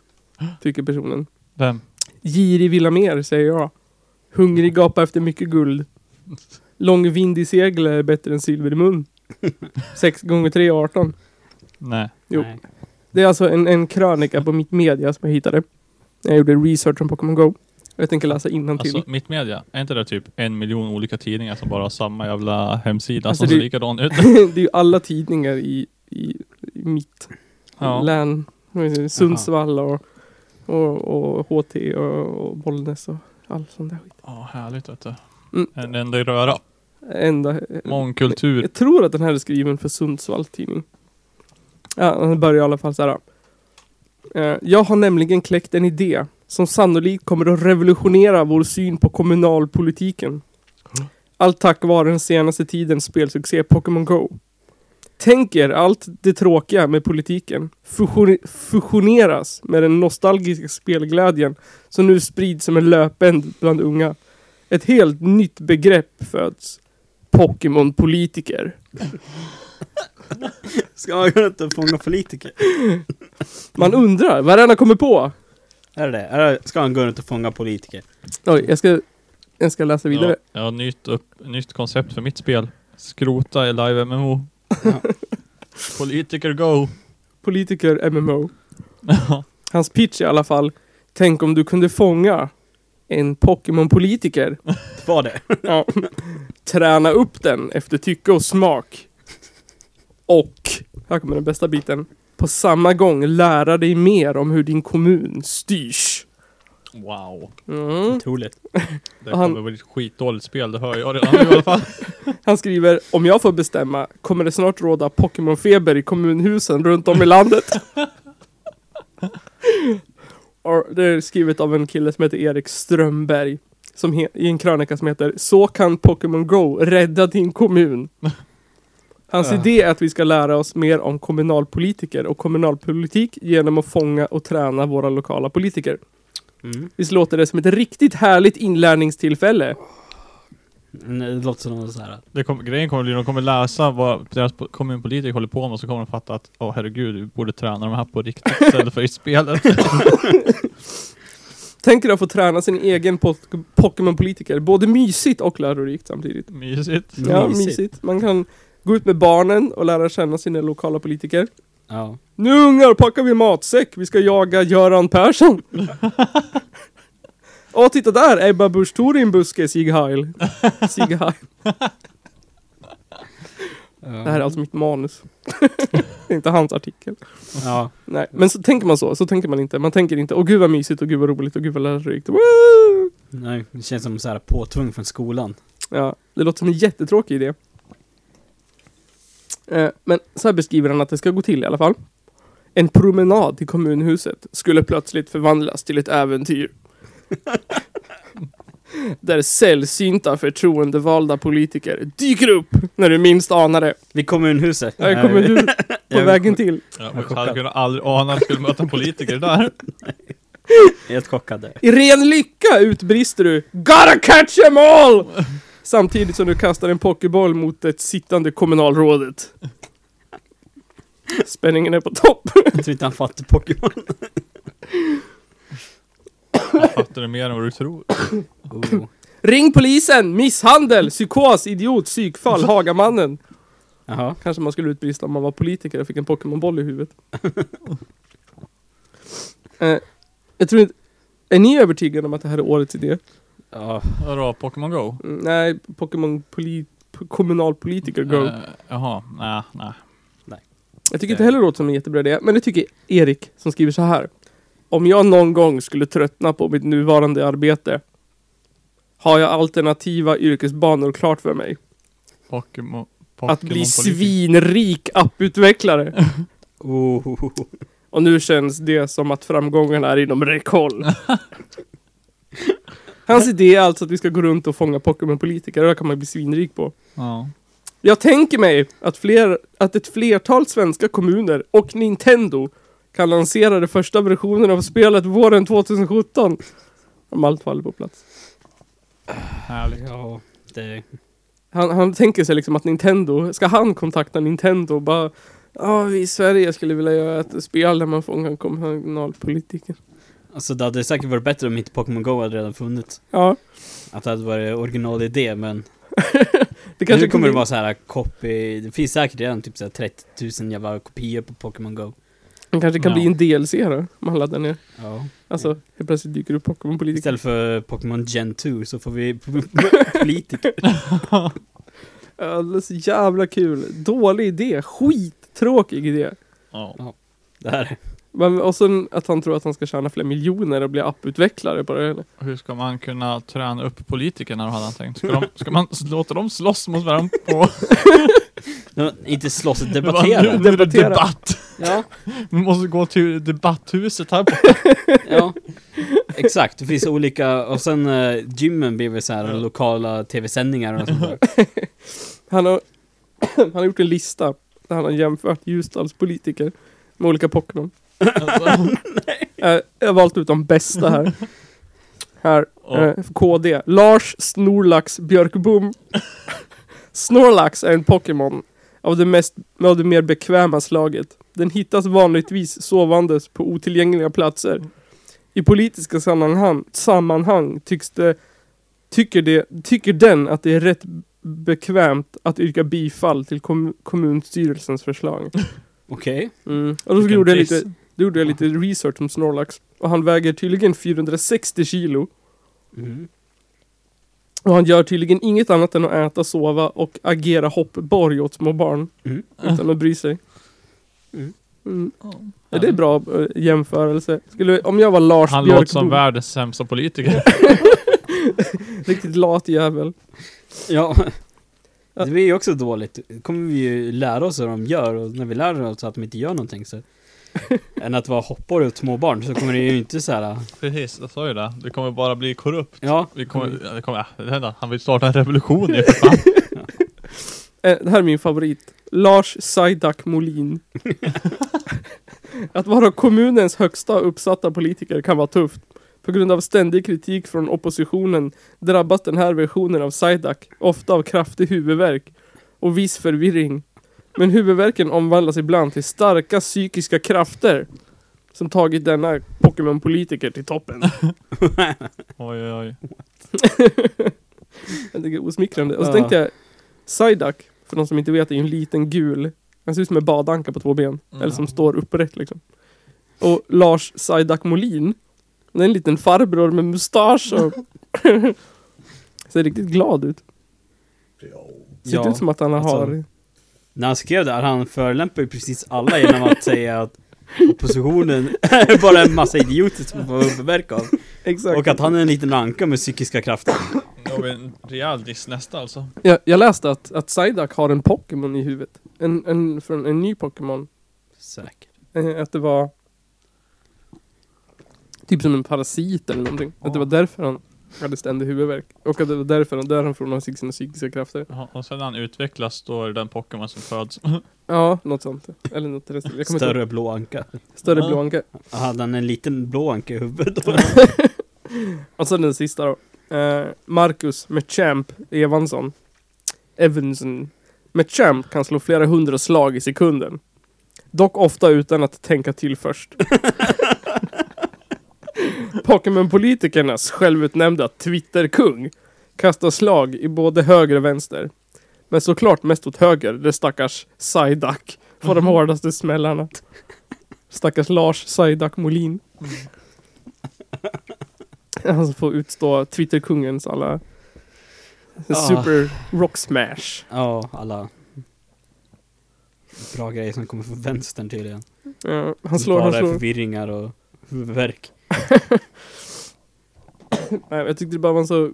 S3: tycker personen.
S1: Vem?
S3: Girig vill ha mer, säger jag. Hungrig gapar efter mycket guld. Lång vind i segel är bättre än silver i mun. 6 gånger 3 är 18.
S1: Nej.
S3: Jo.
S4: Nej.
S3: Det är alltså en, en krönika på mitt media som jag hittade. Jag gjorde research om Pokémon Go. Jag tänker läsa innantill.
S1: Alltså mitt media, är inte det typ en miljon olika tidningar som bara har samma jävla hemsida
S3: Alltså,
S1: som ser
S3: det-
S1: likadan ut?
S3: det är ju alla tidningar i, i, i mitt
S1: Ja.
S3: län. Vad heter det? Sundsvall och, och, och HT och, och Bollnäs och all sån där skit.
S1: Ja, härligt vet du.
S3: Mm.
S1: En enda röra.
S3: Enda,
S1: Mångkultur.
S3: Jag tror att den här är skriven för Sundsvall tidning. Ja, den börjar i alla fall så här. Eh, Jag har nämligen kläckt en idé som sannolikt kommer att revolutionera vår syn på kommunalpolitiken. Allt tack vare den senaste tidens spelsuccé Pokémon Go. Tänk er allt det tråkiga med politiken fusione- fusioneras med den nostalgiska spelglädjen som nu sprids som en löpeld bland unga. Ett helt nytt begrepp föds. Pokémon-politiker.
S4: Ska man gå runt och fånga politiker?
S3: Man undrar vad den har kommit på.
S4: Är det det? Är det? Ska han gå runt och fånga politiker?
S3: Oj, jag ska, jag ska läsa vidare.
S1: Ja, ja nytt, upp, nytt koncept för mitt spel. Skrota i live MMO.
S4: Ja.
S1: Politiker go!
S3: Politiker MMO. Hans pitch i alla fall. Tänk om du kunde fånga en Pokémon-politiker.
S4: Det var det.
S3: Ja. Träna upp den efter tycke och smak. Och, här kommer den bästa biten. På samma gång lära dig mer om hur din kommun styrs.
S1: Wow.
S3: Mm.
S4: Otroligt.
S1: Det
S3: Och han-
S1: kommer bli ett skitdåligt spel, det hör jag redan nu i alla fall.
S3: Han skriver om jag får bestämma kommer det snart råda Pokémonfeber i kommunhusen runt om i landet. Och det är skrivet av en kille som heter Erik Strömberg. Som he- I en krönika som heter Så kan Pokémon Go rädda din kommun. Hans
S1: Ah.
S3: idé är att vi ska lära oss mer om kommunalpolitiker och kommunalpolitik genom att fånga och träna våra lokala politiker.
S4: Mm.
S3: Visst låter det som ett riktigt härligt inlärningstillfälle?
S4: Nej, Mm, Det låter som någon så här.
S1: Det kom, grejen kommer bli, de kommer läsa vad deras po- kommunpolitiker håller på med och så kommer de fatta att åh herregud, vi borde träna de här på riktigt istället för i spelet.
S3: Tänk dig att få träna sin egen pok- Pokémon-politiker, både mysigt och lärorikt samtidigt.
S1: Mysigt.
S3: Ja,
S4: Mysigt.
S3: mysigt. Man kan gå ut med barnen och lära känna sina lokala politiker.
S4: Ja.
S3: Nu ungar packar vi matsäck, vi ska jaga Göran Persson! Åh, titta där! Ebba Busch Thor i en buske, Sieg Heil. Sieg Heil. Det här är alltså mitt manus. det är inte hans artikel.
S4: Ja.
S3: Nej, men så tänker man så. Så tänker man inte. Man tänker inte åh gud vad mysigt och gud vad roligt och gud vad lärorikt. Woo!
S4: Nej, det känns som så här påtvung från skolan.
S3: Ja, det låter som en jättetråkig idé. Eh, Men så här beskriver han att det ska gå till i alla fall. En promenad till kommunhuset skulle plötsligt förvandlas till ett äventyr. Där sällsynta förtroendevalda politiker dyker upp när du minst anar det.
S4: Vid kommunhuset.
S3: Här kommer du
S4: jag
S3: på
S4: är
S3: vägen till.
S1: Ja,
S4: är
S1: jag hade
S4: chockad.
S1: kunnat aldrig ana att jag skulle möta en politiker där.
S4: Helt chockad där.
S3: I ren lycka utbrister du Gotta catch 'em all! Samtidigt som du kastar en pokéboll mot det sittande kommunalrådet. Spänningen är på topp.
S4: Jag tror inte han fattar Pokémon.
S1: Jag fattar det mer än vad du tror.
S4: Oh.
S3: Ring polisen! Misshandel! Psykos! Idiot! Psykfall! Hagamannen!
S4: Jaha.
S3: Kanske man skulle utbrista om man var politiker och fick en Pokémon-boll i huvudet. eh, jag tror inte... Är ni övertygade om att det här är årets idé?
S4: Ja.
S1: Vadå, Pokémon Go?
S3: Mm, nej, Pokémon... Poli- p- kommunalpolitiker go.
S1: Eh, jaha, nej, nej.
S3: Jag tycker inte heller det låter som en jättebra idé, men det tycker Erik som skriver så här. Om jag någon gång skulle tröttna på mitt nuvarande arbete har jag alternativa yrkesbanor klart för mig.
S1: Pokémon...
S3: Att bli
S1: Pokémon-politiker.
S3: svinrik apputvecklare.
S4: Oh.
S3: Och nu känns det som att framgången är inom räckhåll. Hans idé är alltså att vi ska gå runt och fånga Pokémon-politiker, och det kan man bli svinrik på.
S1: Ja.
S3: Jag tänker mig att, fler, att ett flertal svenska kommuner och Nintendo kan lansera den första versionen av spelet våren 2017. Om allt faller på plats.
S1: Härligt.
S4: Ja. Det...
S3: Han, han tänker sig liksom att Nintendo, ska han kontakta Nintendo och bara Ja, vi i Sverige skulle vilja göra ett spel där man fångar kommunalpolitiker.
S4: Alltså det hade säkert varit bättre om inte Pokémon Go hade redan funnits.
S3: Ja,
S4: Att det hade varit originalidé men
S3: det kanske
S4: nu kommer det vara så här copy, det finns säkert redan typ så här 30 000 jävla kopior på Pokémon Go.
S3: det kanske kan
S1: Ja.
S3: bli en DLC då, man laddar ner.
S4: Ja.
S3: Alltså, helt plötsligt dyker det upp Pokémon-politiker.
S4: Istället för Pokémon Gen 2 så får vi politiker.
S3: Alldeles jävla kul. Dålig idé, skittråkig idé.
S1: Ja.
S4: Det här.
S3: Men, och sen att han tror att han ska tjäna flera miljoner och bli apputvecklare på det. Eller?
S1: Hur ska man kunna träna upp politikerna då hade han tänkt? Ska, de, ska man s- låta dem slåss mot varandra på...
S4: De, inte slåss,
S1: Nu,
S4: debattera.
S1: nu är det
S3: Debattera.
S1: debatt!
S4: Ja,
S1: Vi måste gå till debatthuset här borta.
S4: ja. Exakt, det finns olika, och sen eh, gymmen blir väl så här lokala tv-sändningar och sånt där.
S3: Han, har, han har gjort en lista där han har jämfört Ljusdals politiker med olika Pokémon.
S1: Alltså,
S3: Eh, jag har valt ut de bästa här. här,
S1: Ja.
S3: eh, KD. Lars Snorlax Björkbom. Snorlax är en Pokémon av det, mest, av det mer bekväma slaget. Den hittas vanligtvis sovandes på otillgängliga platser. I politiska sammanhang, sammanhang tycks det, tycker, det, tycker den att det är rätt bekvämt att yrka bifall till kom, kommunstyrelsens förslag.
S4: Okej.
S3: Mm. Och då
S1: Vilken
S3: gjorde jag,
S1: piss.
S3: lite, då gjorde jag lite research om Snorlax. Och han väger tydligen 460 kilo.
S4: Mm.
S3: Och han gör tydligen inget annat än att äta, sova och agera hoppborg åt små barn.
S4: Mm.
S3: Utan att bry sig.
S4: Mm.
S3: Mm. Är det en bra eh, jämförelse? Skulle, om jag var Lars
S1: Han låter som
S3: Björkbom,
S1: världens sämsta politiker.
S3: riktigt lat jävel.
S4: Ja. Det blir ju också dåligt. kommer vi ju lära oss hur de gör och när vi lär oss att de inte gör någonting så. Än att vara hoppar åt småbarn så kommer det ju inte så här.
S1: Precis, jag sa ju det. Det kommer bara bli korrupt.
S4: Ja.
S1: Vi kommer,
S3: Mm.
S1: ja, det kommer, ja, det händer. Han vill starta en revolution i för fan.
S3: Eh, det här är min favorit. Lars Sajdak Molin. Att vara kommunens högsta uppsatta politiker kan vara tufft. På grund av ständig kritik från oppositionen drabbas den här versionen av Sajdak ofta av kraftig huvudvärk och viss förvirring. Men huvudvärken omvandlas ibland till starka psykiska krafter som tagit denna Pokémon-politiker till toppen.
S1: Oj, oj, oj.
S3: Jag tycker det är osmickrande. Och så
S4: Ja.
S3: tänkte jag, Psyduck, för de som inte vet, är ju en liten gul. Han ser ut som en badanka på två ben.
S1: Mm.
S3: Eller som står upprätt liksom. Och Lars Psyduck Molin, han är en liten farbror med mustasch och ser riktigt glad ut. Ser
S4: Ja.
S3: ut som att han
S4: alltså,
S3: har
S4: när han skrev det här, han förolämpade ju precis alla genom att säga att oppositionen är bara en massa idioter som får huvudvärk av.
S3: Exakt.
S4: Och att han är en liten anka med psykiska krafter.
S1: Nu har vi en rejäl diss nästa alltså.
S3: jag, jag läste att, att Psyduck har en Pokémon i huvudet. En, en, från en ny Pokémon.
S4: Säkert.
S3: Eh, Att det var typ som en parasit eller någonting. Att det var därför han hade ständig huvudvärk. Och att det var därför han, därifrån han fick sina psykiska krafter.
S1: Ja, och sen när han utvecklas då är det den Pokémon som föds.
S3: Ja, något sånt. Eller något resten. Jag kommer inte
S4: Större blå anka.
S3: ihåg. Större
S1: Ja.
S3: blåanka.
S4: Hade han en liten blå anka i huvudet då?
S3: Och sen den sista då. Eh, Marcus Mechamp Evansson. Evanson. Mechamp kan slå flera hundra slag i sekunden. Dock ofta utan att tänka till först. Pokémon-politikernas självutnämnda Twitter-kung kastar slag i både höger och vänster. Men såklart mest åt höger, där stackars Psyduck får de hårdaste smällarna. Stackars Lars Psyduck Molin. Han som får utstå Twitterkungens alla super rock smash.
S4: Ja, alla bra grejer som kommer från vänstern tydligen.
S3: Ja, han slår, han
S4: Bara
S3: slår.
S4: förvirringar och huvudvärk.
S3: Nej, jag tyckte det bara var en så eh,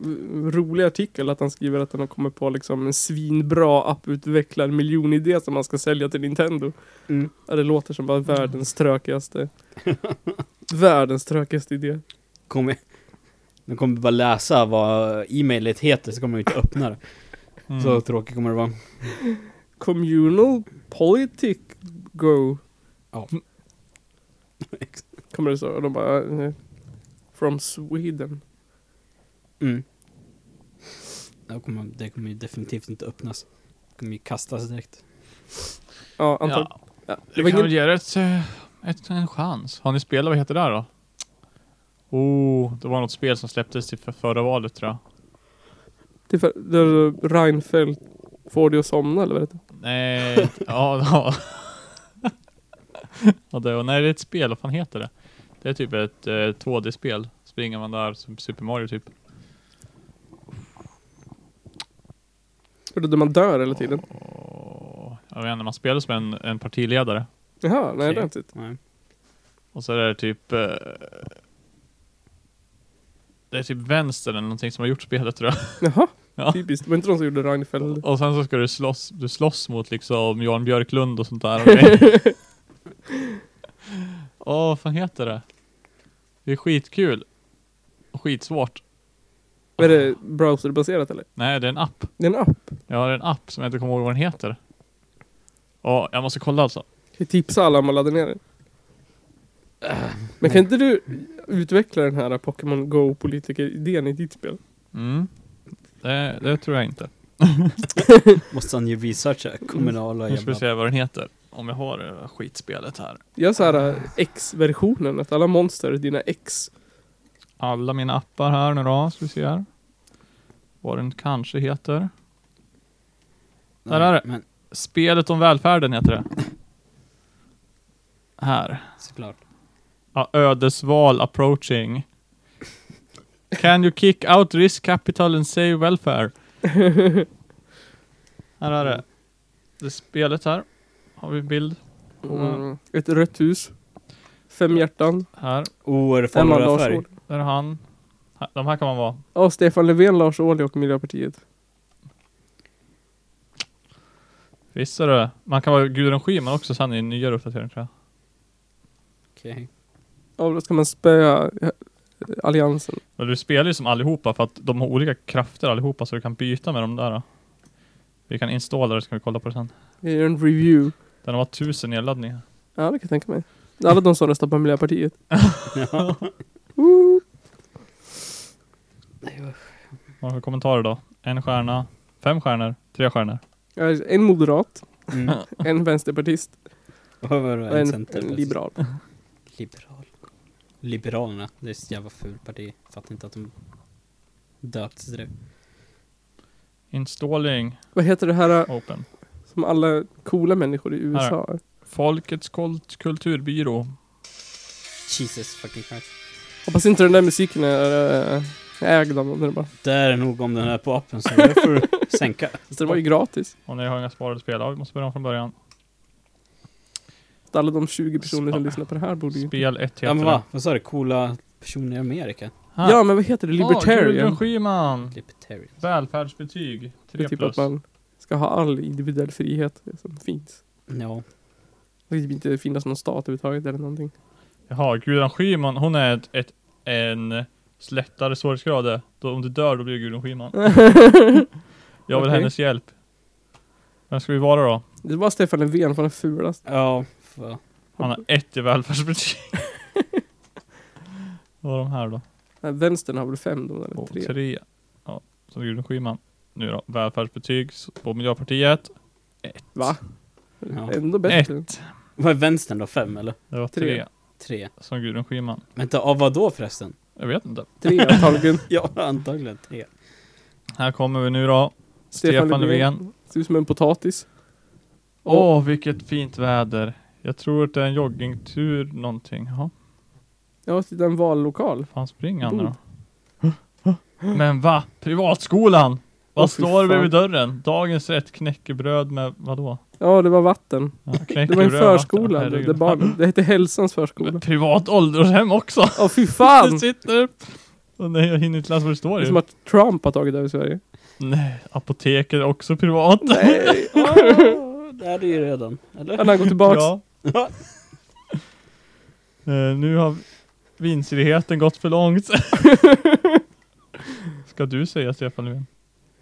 S3: rolig artikel att han skriver att han har kommit på liksom en svinbra apputvecklad miljonidé som han ska sälja till Nintendo.
S4: Mm.
S3: Ja, det låter som bara världens tråkigaste. världens tråkigaste idé.
S4: Kommer, de kommer bara läsa vad e-mailet heter så kommer de inte öppna det.
S1: Mm.
S4: Så tråkigt kommer det vara.
S3: Communal politic go.
S4: Ja.
S3: Kommer det så? Och de bara... eh, From Sweden.
S4: Mm. Det kommer, det kommer ju definitivt inte öppnas. Det kommer ju kastas direkt.
S3: Ja, antagligen.
S1: ja,
S3: Ja.
S1: vi kan väl ge det ett, eh, ett, en chans. Har ni spelat, vad heter det här då? Oh, det var något spel som släpptes till för förra valet tror jag.
S3: Till för, där Reinfeldt får dig att somna eller vad heter det?
S1: Nej, ja, ja. ja det, och nej, det är ett spel, vad fan heter det? Det är typ ett eh, 2D-spel. Springer man där, som Super Mario typ.
S3: Är det där man dör hela tiden?
S1: Och, jag vet inte, man spelar som en, en partiledare.
S3: Jaha, nej
S4: Okej.
S3: det har jag inte sett.
S4: Nej.
S1: Och så är det typ... Eh, det är typ vänster eller någonting som har gjort spelet tror jag.
S3: Jaha,
S1: Ja.
S3: typiskt. Det var inte de som gjorde Reinfeldt.
S1: Och sen så ska du slåss, du slåss mot liksom Jan Björklund och sånt där. och grejer. Åh, vad fan heter det? Det är skitkul. Och skitsvårt.
S3: Är det browserbaserat eller?
S1: Nej, det är en app.
S3: Det är en app.
S1: Jag har en app som jag inte kommer ihåg vad den heter. Ja, jag måste kolla alltså.
S3: Kan jag tipsa typ alla om att ladda ner den? Men kan inte du utveckla den här Pokémon Go politiker-idén i ditt spel?
S1: Mm. Det, det tror jag inte.
S4: Måste han ju researcha kommunala
S1: Nu Mm. ska vi
S4: jävla...
S1: se vad den heter. Om jag har eh, skitspelet här.
S3: Gör så här eh, X-versionen, att alla monster är dina X.
S1: Alla mina appar här nu då, ska vi se här. Vad den kanske heter. Där är det.
S4: Men
S1: Spelet om välfärden heter det. Här.
S4: såklart.
S1: Ja, ödesval approaching. Can you kick out risk capital and save welfare? här är det. Det spelet här. Har vi bild
S3: Mm. Ett rött hus. Fem hjärtan.
S1: här.
S4: Oh, är det
S3: Emma
S4: farlig röd
S3: Lars
S4: färg?
S3: Ohly.
S1: Där är han. Här- De här kan man vara.
S3: Ja, Stefan Löfven, Lars Ohly och Miljöpartiet.
S1: Visst är det. Man kan vara Gudrun Schyman också sen i nyare uppdatering tror jag.
S4: Okej.
S3: Ja, då ska man spöa eh, Alliansen.
S1: Men du spelar ju som allihopa för att de har olika krafter allihopa så du kan byta med de där. Då. Vi kan installa det så kan vi kolla på det sen.
S3: Vi gör en review.
S1: Den har varit tusen nedladdningar.
S3: Ja, det kan jag tänka mig. Alla de som röstar på Miljöpartiet.
S1: Vad har vi kommentarer då? En stjärna, fem stjärnor, tre stjärnor.
S3: Jag är En moderat,
S4: Mm.
S3: en vänsterpartist
S4: Och vad var
S3: och
S4: det? En,
S3: en,
S4: center,
S3: en
S4: precis.
S3: liberal.
S4: Liberal. Liberalerna, det är ett jävla ful parti. Fattar inte att de döptes till det.
S1: Installing
S3: Vad heter det här eh,
S1: open.
S3: som alla coola människor i USA har?
S1: Folkets kult- kulturbyrå.
S4: Jesus fucking Christ.
S3: Hoppas inte den där musiken är... eh, Äg dem undrar bara.
S4: Det är nog om den här på appen så det får du sänka.
S3: Så det var ju gratis.
S1: Och ni har inga sparade spel. Ja, vi måste börja om från början.
S3: Alla de 20 personer som
S1: Spa-
S3: lyssnar på det här borde ju...
S1: Spel 1 heter
S4: Ja men
S1: det.
S4: va? Vad sa du? Coola personer i Amerika?
S1: Här.
S3: Ja men vad heter det?
S1: Åh, Gudrun
S3: Libertarian?
S1: Schyman!
S4: Libertarian.
S1: Välfärdsbetyg.
S3: Det är
S1: 3
S3: typ
S1: plus.
S3: att man ska ha all individuell frihet som finns.
S4: Ja.
S3: Det ska typ inte finnas någon stat överhuvudtaget eller någonting.
S1: Jaha, Gudrun Schyman, hon är ett, ett, en slättare svårighetsgrad. det. Då, om du dör, då blir du Gudrun Schyman. Jag vill
S3: Okej.
S1: hennes hjälp. Vem ska vi vara då?
S3: Det var Stefan Löfven, för den fulast.
S4: Ja. Fan.
S1: Han har ett i välfärdsbetyg. Vad var de här då?
S3: Nej, vänstern har väl fem då, eller
S1: Och
S3: tre.
S1: tre. Ja, så Gudrun Schyman. Nu då, välfärdsbetyg s- på Miljöpartiet.
S3: Va?
S4: Ja.
S3: Ändå bättre.
S1: Ett.
S4: Vad är vänstern då? Fem eller?
S1: Det var
S3: Tre.
S1: tre,
S4: Tre?
S1: som Gudrun Schyman.
S4: Vänta, av vad då förresten?
S1: Jag vet inte.
S3: Tre antagligen.
S4: Ja, antagligen tre.
S1: Här kommer vi nu då. Stefan, Löfven.
S3: Ser ut som en potatis.
S1: Åh, vilket fint väder. Jag tror att det är en joggingtur någonting. Jaha,
S3: Ja, titta en vallokal.
S1: fan springer han
S3: Bo.
S1: nu då? Men va? Privatskolan? Vad
S3: Åh, fy
S1: står
S3: fan.
S1: bredvid dörren? Dagens rätt knäckebröd med vadå?
S3: Ja, det var vatten.
S1: Ja,
S3: Det var en
S1: knäckebröd,
S3: förskola.
S1: vatten.
S3: Det,
S1: Herregud.
S3: det, barn, det hette Hälsans förskola.
S1: Privat åldershem också!
S3: Åh fy
S1: Det
S3: fan! Det
S1: sitter... Och nej, jag hinner inte läsa vad det står
S3: är
S1: ju.
S3: som att Trump har tagit över Sverige.
S1: Nej, apoteket är också privat.
S3: Nej!
S4: Ah, det är det ju redan. Eller?
S3: Han har gått tillbaks.
S1: Ja. Eh, nu har vinsirigheten gått för långt. Ska du säga Stefan Löfven?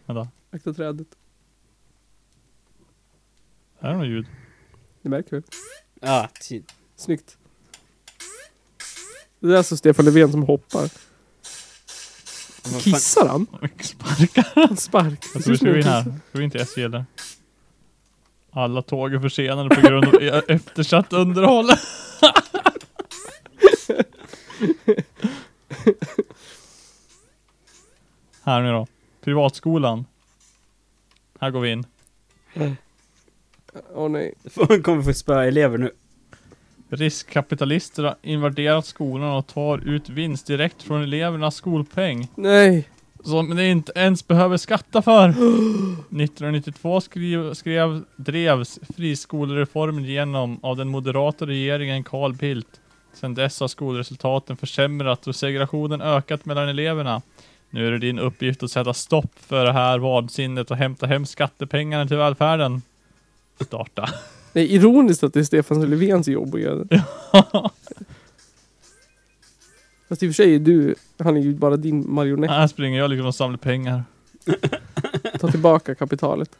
S1: Vänta,
S3: Akta trädet.
S1: här är något ljud.
S3: Det märker vi.
S4: Ja, typ. tid.
S3: Snyggt. Det är alltså Stefan Löfven som hoppar. Kissar han?
S1: Sparka.
S3: Han sparkar. Det
S1: Jag
S3: ser ut
S1: tror Alltså, vi
S3: som en
S1: skriver in här.
S3: kissa.
S1: Tror vi inte SJ där. Alla tåg är försenade på grund av e- eftersatt underhåll. här nu då. Privatskolan. Här går vi in.
S3: Åh nej.
S4: Fan kommer få spöa elever nu.
S1: Riskkapitalister har invaderat skolan och tar ut vinst direkt från elevernas skolpeng.
S3: Nej!
S1: Som ni inte ens behöver skatta för. 1992 skrev, skrev, drevs friskolereformen igenom av den moderata regeringen Carl Bildt. Sedan dess har skolresultaten försämrats och segregationen ökat mellan eleverna. Nu är det din uppgift att sätta stopp för det här vansinnet och hämta hem skattepengarna till välfärden. Starta.
S3: Det är ironiskt att det är Stefan Löfvens jobb att göra det. Fast i och för sig är du, han är ju bara din marionett.
S1: Här springer jag liksom och samlar pengar.
S3: Ta tillbaka kapitalet.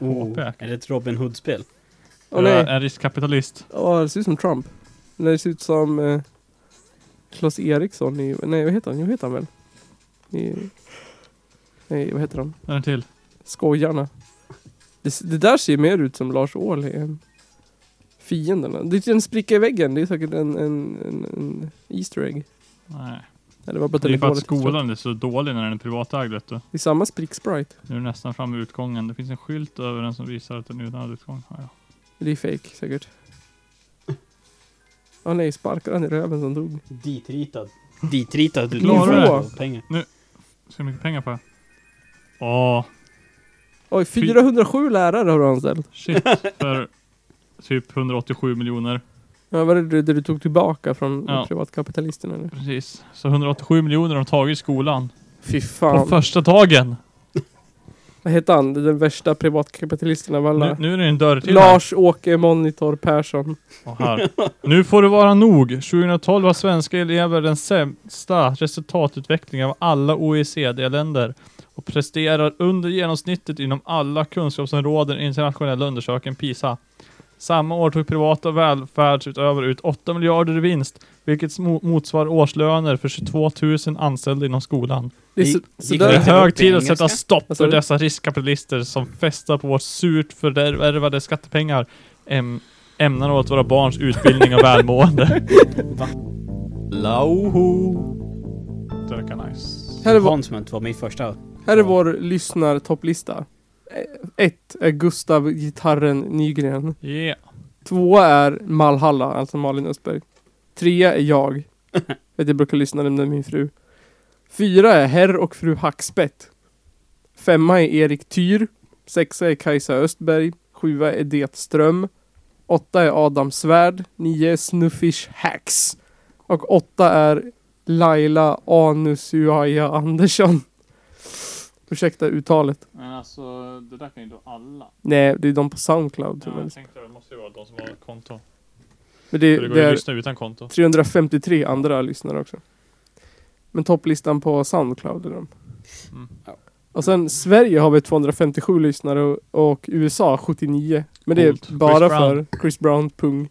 S4: Oh.
S1: Påpeka.
S4: Är det ett Robin Hood-spel?
S3: Åh
S1: jag är
S3: nej!
S1: en riskkapitalist.
S3: Åh, det ser ut som Trump. Nej, det ser ut som eh, Klas Eriksson i, nej vad heter han? Jo, vad heter han väl? I, nej, vad heter han?
S1: En till.
S3: Skojarna. Det, s- det där ser ju mer ut som Lars Ohly än fienderna. Det är en spricka i väggen. Det är säkert en, en, en, en Easter egg.
S1: Nej.
S3: Eller var bara
S1: Det är ju för att
S3: telefonen.
S1: skolan är så dålig när den är privatägd vet du.
S3: Det är samma spricksprite.
S1: Nu är det nästan framme vid utgången. Det finns en skylt över den som visar att den är utan utgång. Ja, ja.
S3: Det är fake säkert. Åh nej, sparkade han i röven som dog?
S4: Ditritad. Ditritad. Du
S1: Klarar
S4: får
S3: det?
S4: pengar.
S1: Så mycket pengar på det. Åh,
S3: Oj, 407 lärare har du anställt.
S1: shit. För typ 187 miljoner.
S3: Ja, var det det du tog tillbaka från
S1: Ja.
S3: privatkapitalisterna? Eller?
S1: Precis. Så 187 miljoner har de tagit i skolan.
S3: Fy
S1: På
S3: fan.
S1: första dagen.
S3: Vad hette han? Den värsta privatkapitalisten av alla.
S1: Nu, nu är det en dörr till
S3: Lars-Åke Monitor Persson.
S1: här. Och här. Nu får det vara nog. 2012 har svenska elever den sämsta resultatutvecklingen av alla OECD-länder och presterar under genomsnittet inom alla kunskapsområden i internationella undersökningen PISA. Samma år tog privata välfärdsutövare ut 8 miljarder i vinst, vilket smo- motsvarar årslöner för 22 000 anställda inom skolan.
S3: Det är
S4: Det-
S3: så,
S4: det
S3: så
S4: gick
S1: Det
S3: där,
S1: är
S4: inte
S1: hög
S4: upp i
S1: tid att
S4: engelska?
S1: sätta stopp
S3: Vad sa
S1: för
S3: du?
S1: dessa riskkapitalister som festar på vårt surt förvärvade skattepengar äm, ämnar åt våra barns utbildning och välmående.
S4: Lauho.
S1: Det verkar nice.
S3: här, är vår,
S4: Hans som inte var med i första.
S3: här är vår lyssnartopplista. Eh, Ett är Gustav Gitarren Nygren.
S1: Yeah.
S3: Tvåa är Malhalla, alltså Malin Östberg. Trea är jag. Vet jag brukar lyssna när min fru. Fyra är Herr och Fru Hackspett. Femma är Erik Tyr. Sexa är Kajsa Östberg. Sjua är Det Ström. Åtta är Adam Svärd. Nio är Snuffish Hacks. Och åtta är Laila Anusuaya Andersson. Ursäkta uttalet.
S1: Men alltså, det där kan ju då alla.
S3: Nej, det är de på Soundcloud. som är-
S1: jag tänkte det måste ju vara de som har konto.
S3: Men
S1: För
S3: det,
S1: det går
S3: det
S1: ju att
S3: är
S1: lyssna utan konto.
S3: 353 andra lyssnare också. Men topplistan på Soundcloud är de.
S1: Mm.
S3: Och sen Sverige har vi 257 lyssnare och, och USA 79. Men det
S1: Coolt.
S3: är bara
S1: Chris Brown.
S3: för Chris Brown, pung.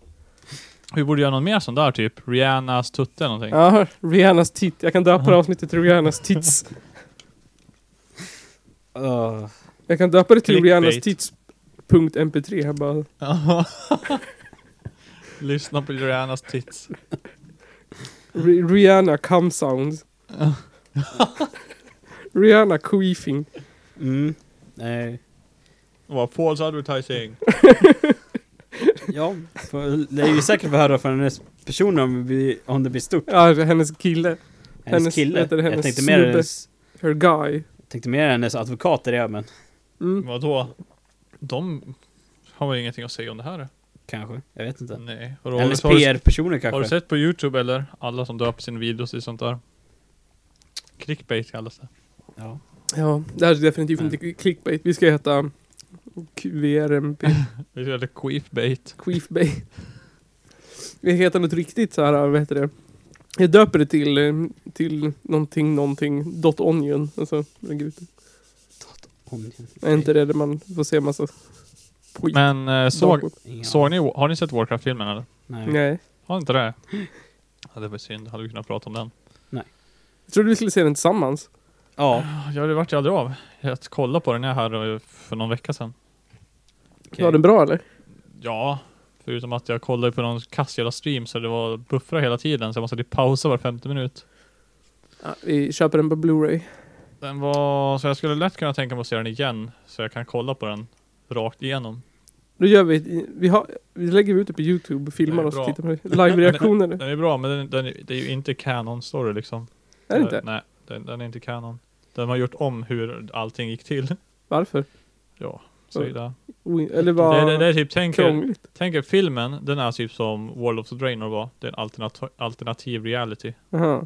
S1: Vi borde göra någon mer sån där typ. Rihannas tutte eller någonting.
S3: Ja, Rihannas tits. Jag kan döpa det här avsnittet till Rihannas tits.
S4: Uh,
S3: Jag kan döpa det till
S1: Clickbait.
S3: Rihannas tits. Punkt mp3 här bara.
S1: Lyssna på Rihannas tits.
S3: Ri- Rihanna cum sound. Rihanna queefing.
S4: mm, nej.
S1: Vad false advertising.
S4: Ja, för, det är ju säkert att höra från hennes person om, det blir- om det blir stort.
S3: Ja, hennes kille.
S4: Hennes,
S3: Hennes-
S4: kille.
S3: heter det
S4: jag
S3: hennes
S4: tänkte mer
S3: snubbe?
S4: hennes,
S3: Her guy.
S4: tänkte mer hennes advokater ja, men
S3: Mm.
S1: Vadå? De har väl ingenting att säga om det här?
S4: kanske. Jag vet inte.
S1: Nej. Har du,
S4: hennes
S1: har, du,
S4: PR-personer kanske.
S1: har du sett på Youtube eller? Alla som döper sina videos till sånt där. Clickbait kallas det.
S4: Ja.
S3: Ja, det här är definitivt
S4: Men-
S1: Mm.
S3: inte clickbait. Vi ska heta QVRMP.
S1: Det är väldigt queefbait.
S3: Queefbait. Vi heter något riktigt så här, vad heter det? Jag döper det till, eh, till någonting, någonting, dot onion. Alltså, lägger ut det.
S4: Om-
S3: Är inte det där man får se massa skit?
S1: Men eh, såg,
S4: Ja.
S1: såg ni, har ni sett Warcraft-filmen eller?
S4: Nej.
S3: Nej.
S1: Har ni inte det? Ja, det var synd. Hade vi kunnat prata om den.
S3: Jag trodde vi skulle se den tillsammans.
S4: Ja.
S1: Ja, det vart jag aldrig av. Jag kollade på den här här eh, för någon vecka sedan.
S4: okej.
S3: Var den bra eller?
S1: Ja, förutom att jag kollade på någon kass jävla stream så det var buffrar hela tiden så jag måste typ pausa var femte minut.
S3: Ja, vi köper den på Blu-ray.
S1: Den var, så jag skulle lätt kunna tänka mig att se den igen så jag kan kolla på den rakt igenom.
S3: Då gör vi, ett- vi, har, vi lägger ut det på YouTube, filmar
S1: Nej,
S3: oss och
S1: bra.
S3: tittar på det. Live-reaktioner.
S1: Den är bra men den, den, det är ju inte canon story liksom.
S3: är det inte?
S1: Nej, den, den är inte canon. Den har gjort om hur allting gick till.
S3: Varför?
S1: Ja, så är det.
S3: Oi- Eller
S1: Det,
S3: vad
S1: det, det är typ, tänk er,
S3: krångligt.
S1: tänk er filmen, den är typ som World of the Draenor var. Det är en alternativ, alternativ reality.
S3: Aha.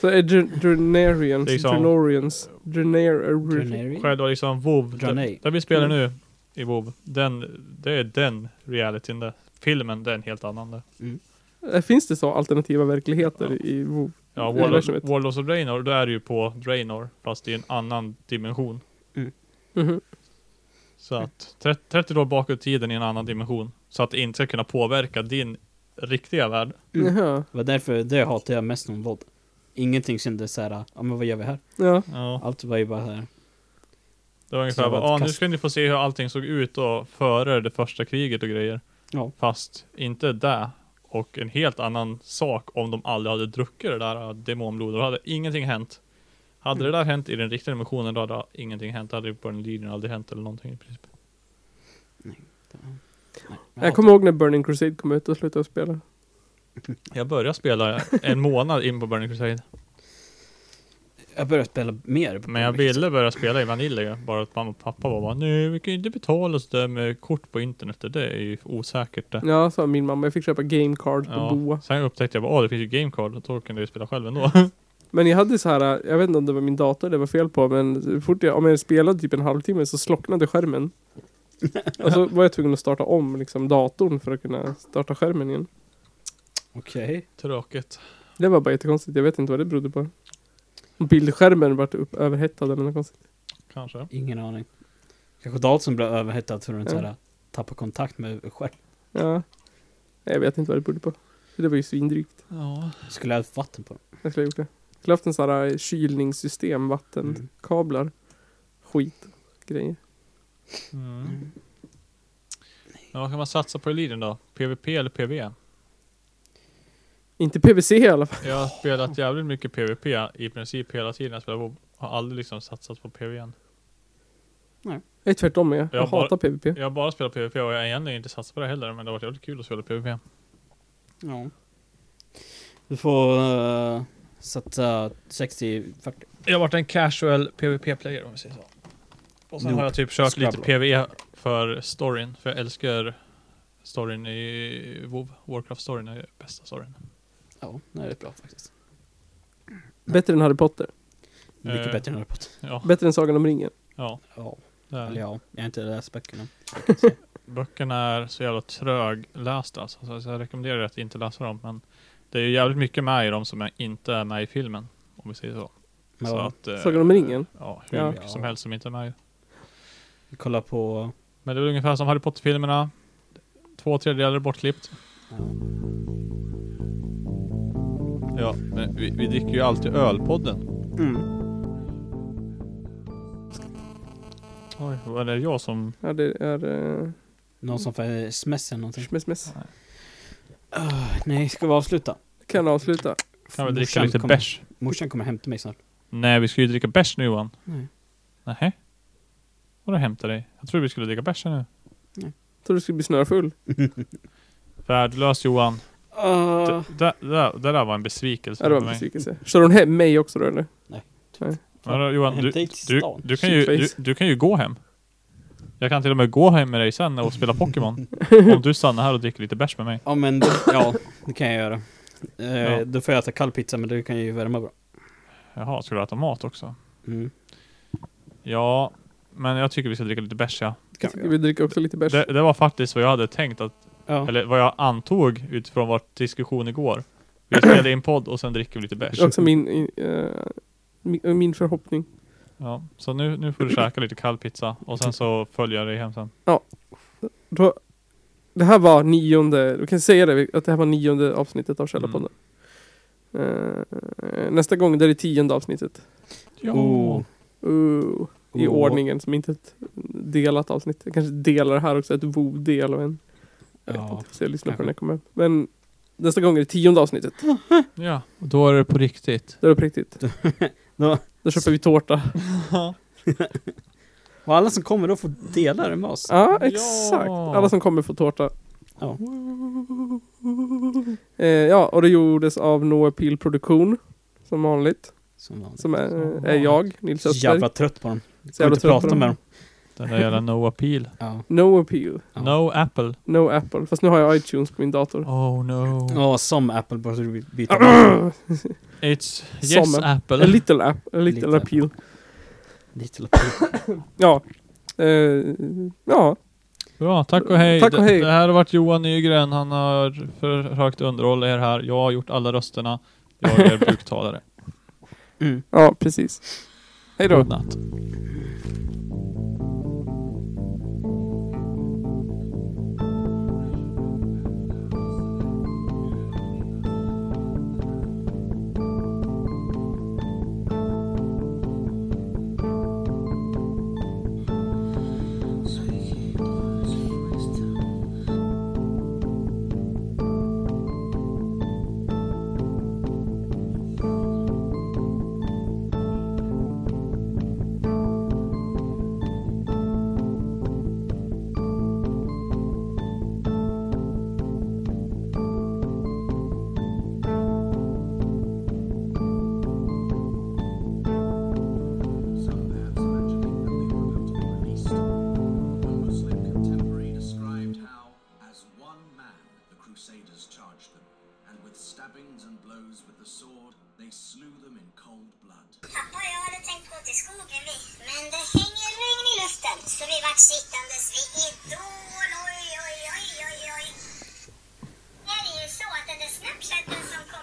S3: Så är Dr- Drenarians,
S1: Liksom-
S3: Drenorians, Drenar...
S4: Drenary?
S1: Själva liksom WoW,
S4: Dra
S1: där,
S4: nej.
S1: där vi
S3: Mm.
S1: spelar nu i WoW, den, det är den realityn där. Filmen, det är en helt annan där.
S3: Äh, Finns det så alternativa verkligheter i WoW?
S1: Ja,
S3: Mm,
S1: World of,
S3: verkligen.
S1: World of the Draenor, då är det ju på Draenor, fast i en annan dimension.
S3: Mhm.
S1: Så att tre- 30 år bakåt i tiden i en annan dimension. Så att det inte ska kunna påverka din riktiga värld.
S4: Mm.
S3: Jaha.
S4: Det var därför det hatade jag mest om våld. Ingenting kändes såhär, ja men vad gör vi här?
S3: Ja.
S1: Ja,
S4: Allt var ju bara här.
S1: det var
S4: Så
S1: ungefär
S4: det var
S1: bara, ah,
S4: ett
S1: nu
S4: kast."
S1: ska ni få se hur allting såg ut och före det första kriget och grejer.
S4: Ja.
S1: Fast inte där. Och en helt annan sak om de aldrig hade druckit det där demonblodet. Då hade ingenting hänt. Hade
S4: Mm.
S1: det där hänt i den riktiga dimensionen då hade ingenting hänt. Då hade det på den linjen aldrig hänt eller någonting i princip.
S4: Nej, jag
S3: Jag
S4: hatar-
S3: kommer ihåg när Burning Crusade kom ut och slutade spela.
S1: Jag började spela en månad in på Burning Crusade.
S4: Jag började spela mer. på
S1: Men jag
S4: Comic
S1: ville börja spela i Vanilla. Bara att mamma och pappa var bara, nej vi kan ju inte betala sådär med kort på internet. Det är ju osäkert det.
S3: Ja, sa min mamma. Jag fick köpa gamecard på Boa.
S1: Ja. Sen upptäckte jag bara, ah det finns ju Gamecard. Och då kunde jag ju spela själv ändå.
S3: Men jag hade så här, äh, jag vet inte om det var min dator det var fel på, men så fort jag, om jag spelade typ en halvtimme så slocknade skärmen. Och så var jag tvungen att starta om liksom datorn för att kunna starta skärmen igen.
S4: Okej.
S1: Tråkigt.
S3: Det var bara jättekonstigt, jag vet inte vad det berodde på. Bildskärmen vart upp överhettad eller något konstigt.
S1: Kanske.
S4: Ingen aning. Kanske datorn blev överhettad för att den
S3: Ja.
S4: såhär tappar kontakt med skärmen.
S3: Ja. Nej, Jag vet inte vad det berodde på. Det var ju svindrygt.
S1: Ja.
S4: Skulle jag ha haft vatten på den?
S3: Jag skulle ha gjort det. Jag skulle ha haft en sån här eh, kylningssystem,
S4: Mm.
S3: vattenkablar. Skit. Grejer.
S1: Mm. Men vad kan man satsa på i Leadern då? PVP eller E? PV?
S3: Inte PVC i alla fall.
S1: Jag har spelat jävligt mycket PVP i princip hela tiden jag spelar WoW. Har aldrig liksom satsat på PVn.
S3: Jag är tvärtom, jag, jag
S1: Jag bara-
S3: hatar PVP.
S1: Jag har bara spelat PVP och jag har egentligen inte satsat på det heller men det har varit jävligt kul att spela PVP.
S4: Ja. Du får eh, Så att eh, 60, 40.
S1: Jag har varit en casual PVP-player om vi säger så. Och sen
S4: Noob.
S1: har jag typ kört lite
S4: Scrabble.
S1: PVE för storyn, för jag älskar storyn i WoW. Warcraft-storyn är bästa storyn.
S4: Ja, nej, det är bra faktiskt.
S3: Bättre än Harry Potter.
S4: Mycket
S1: Eh.
S4: bättre än Rapport.
S1: Ja,
S3: Bättre än Sagan om ringen.
S1: ja.
S4: Ja,
S1: Det är.
S4: eller ja, jag har inte läst böckerna.
S1: Böckerna är så jävla tröglästa alltså, så- så jag rekommenderar att inte läsa dem. Men det är ju jävligt mycket med i dem som är- inte är med i filmen. Om vi säger så. så
S4: Ja,
S1: att, eh,
S3: Sagan om ringen?
S1: Ja, hur
S3: Ja.
S1: mycket som helst som inte är med i.
S4: vi kollar på...
S1: Men det är väl ungefär som Harry Potter-filmerna. Två tredjedelar är bortklippt. Ja, men vi, vi dricker ju alltid ölpodden.
S4: Mm.
S1: Oj, var det jag som...
S3: Ja, det är... Uh,
S4: Någon som får sms eller någonting.
S3: sms, sms.
S4: Ah, nej, ska vi avsluta?
S3: Kan avsluta.
S1: Kan vi dricka
S4: Morsan
S1: lite
S4: kommer-
S1: bärs?
S4: Morsan kommer hämta mig snart.
S1: Nej, vi ska ju dricka bärs nu Johan.
S4: Nej.
S1: Nähä? Vadå hämta dig? Jag trodde vi skulle dricka bärs här nu.
S3: Tror du skulle bli snörfull?
S1: Värdelöst Johan.
S4: Ah,
S1: Det, det, det, det där var en besvikelse
S3: Ja, det var
S1: för
S3: en
S1: mig.
S3: besvikelse. Kör hon hem mig också då eller?
S1: Men, Johan,
S4: Hämta
S1: du,
S4: dig till
S1: du,
S4: stan.
S1: du, kan ju, du,
S3: Shitface.
S1: du kan ju gå hem. Jag kan till och med gå hem med dig sen och spela Pokémon. om du stannar här och dricker lite bärs med mig.
S4: ja men, det, ja, det kan jag göra. Eh,
S1: Ja.
S4: Då får jag äta kall pizza, men du kan ju värma bra.
S1: Jaha, ska du äta mat också?
S4: Mm.
S1: Ja, men jag tycker vi ska dricka lite bärs ja.
S3: Jag tycker vi dricker också lite bärs.
S1: Det, det var faktiskt vad jag hade tänkt att,
S4: Ja.
S1: eller vad jag antog utifrån vår diskussion igår. Vi spelar in podd och sen dricker vi lite bärs.
S3: Det är också min, eh, min, min förhoppning.
S1: Ja, så nu, nu får du käka lite kall pizza och sen så följer jag dig hem sen.
S3: Då, det här var nionde, du kan säga det, att det här var nionde avsnittet av Källarpodden. Eh, nästa gång, det är det tionde avsnittet.
S1: Ja.
S4: Oh.
S3: Ooh, I
S4: Oh.
S3: ordningen, som inte är ett delat avsnitt. Jag kanske delar här också, ett vov-del och en. Jag vet
S4: Ja,
S3: inte, får se, lyssna på
S4: kanske.
S3: när jag kommer hem. Men nästa gång är det tionde avsnittet.
S1: Ja, och då är det på riktigt.
S3: Det är det på riktigt.
S4: Då-
S3: Då köper vi tårta.
S4: Och alla som kommer då får dela det med oss.
S3: Ja, exakt.
S1: Ja.
S3: Alla som kommer får tårta.
S4: Ja.
S3: Eh, ja, och det gjordes av Noah Peel Produktion. Som vanligt.
S4: Som vanligt.
S3: Som är,
S1: Som
S3: är jag, Nils
S4: Så
S3: Östberg.
S4: jävla trött på dem. Jag
S3: Så
S4: kan
S3: jävla
S4: inte
S3: trött på
S4: prata
S3: dem.
S4: med dem.
S1: Den där jävla no appeal.
S4: Ja.
S3: No Appeal,
S4: Ja.
S1: No apple.
S3: No Apple. Fast nu har jag iTunes på min dator.
S1: Oh no.
S3: Mm.
S4: Ja, som Apple borde by- byta namn.
S1: It's yes
S3: Som-
S1: apple.
S3: A little, app, a little,
S4: Little
S3: appeal.
S4: Little Apple.
S3: Ja. Eh, ja,
S1: Bra, tack och hej.
S3: Tack och hej.
S1: Det, det här har varit Johan Nygren. Han har försökt underhålla er här. Jag har gjort alla rösterna. Jag är buktalare.
S4: Mm.
S3: ja precis. Hej då.
S1: God natt.
S7: Some ads mentioning that they were about to be released. One Muslim contemporary described how, as one man, the Crusaders charged them, and with stabbings and blows with the sword, they slew them in cold blood.
S5: Pappa och jag hade tänkt gå till skogen vi, men det hänger regn i luften så vi vart sittandes vid idol. Oj, oj, oj, oj, oj. Är det ju så att den där snapchatten som kom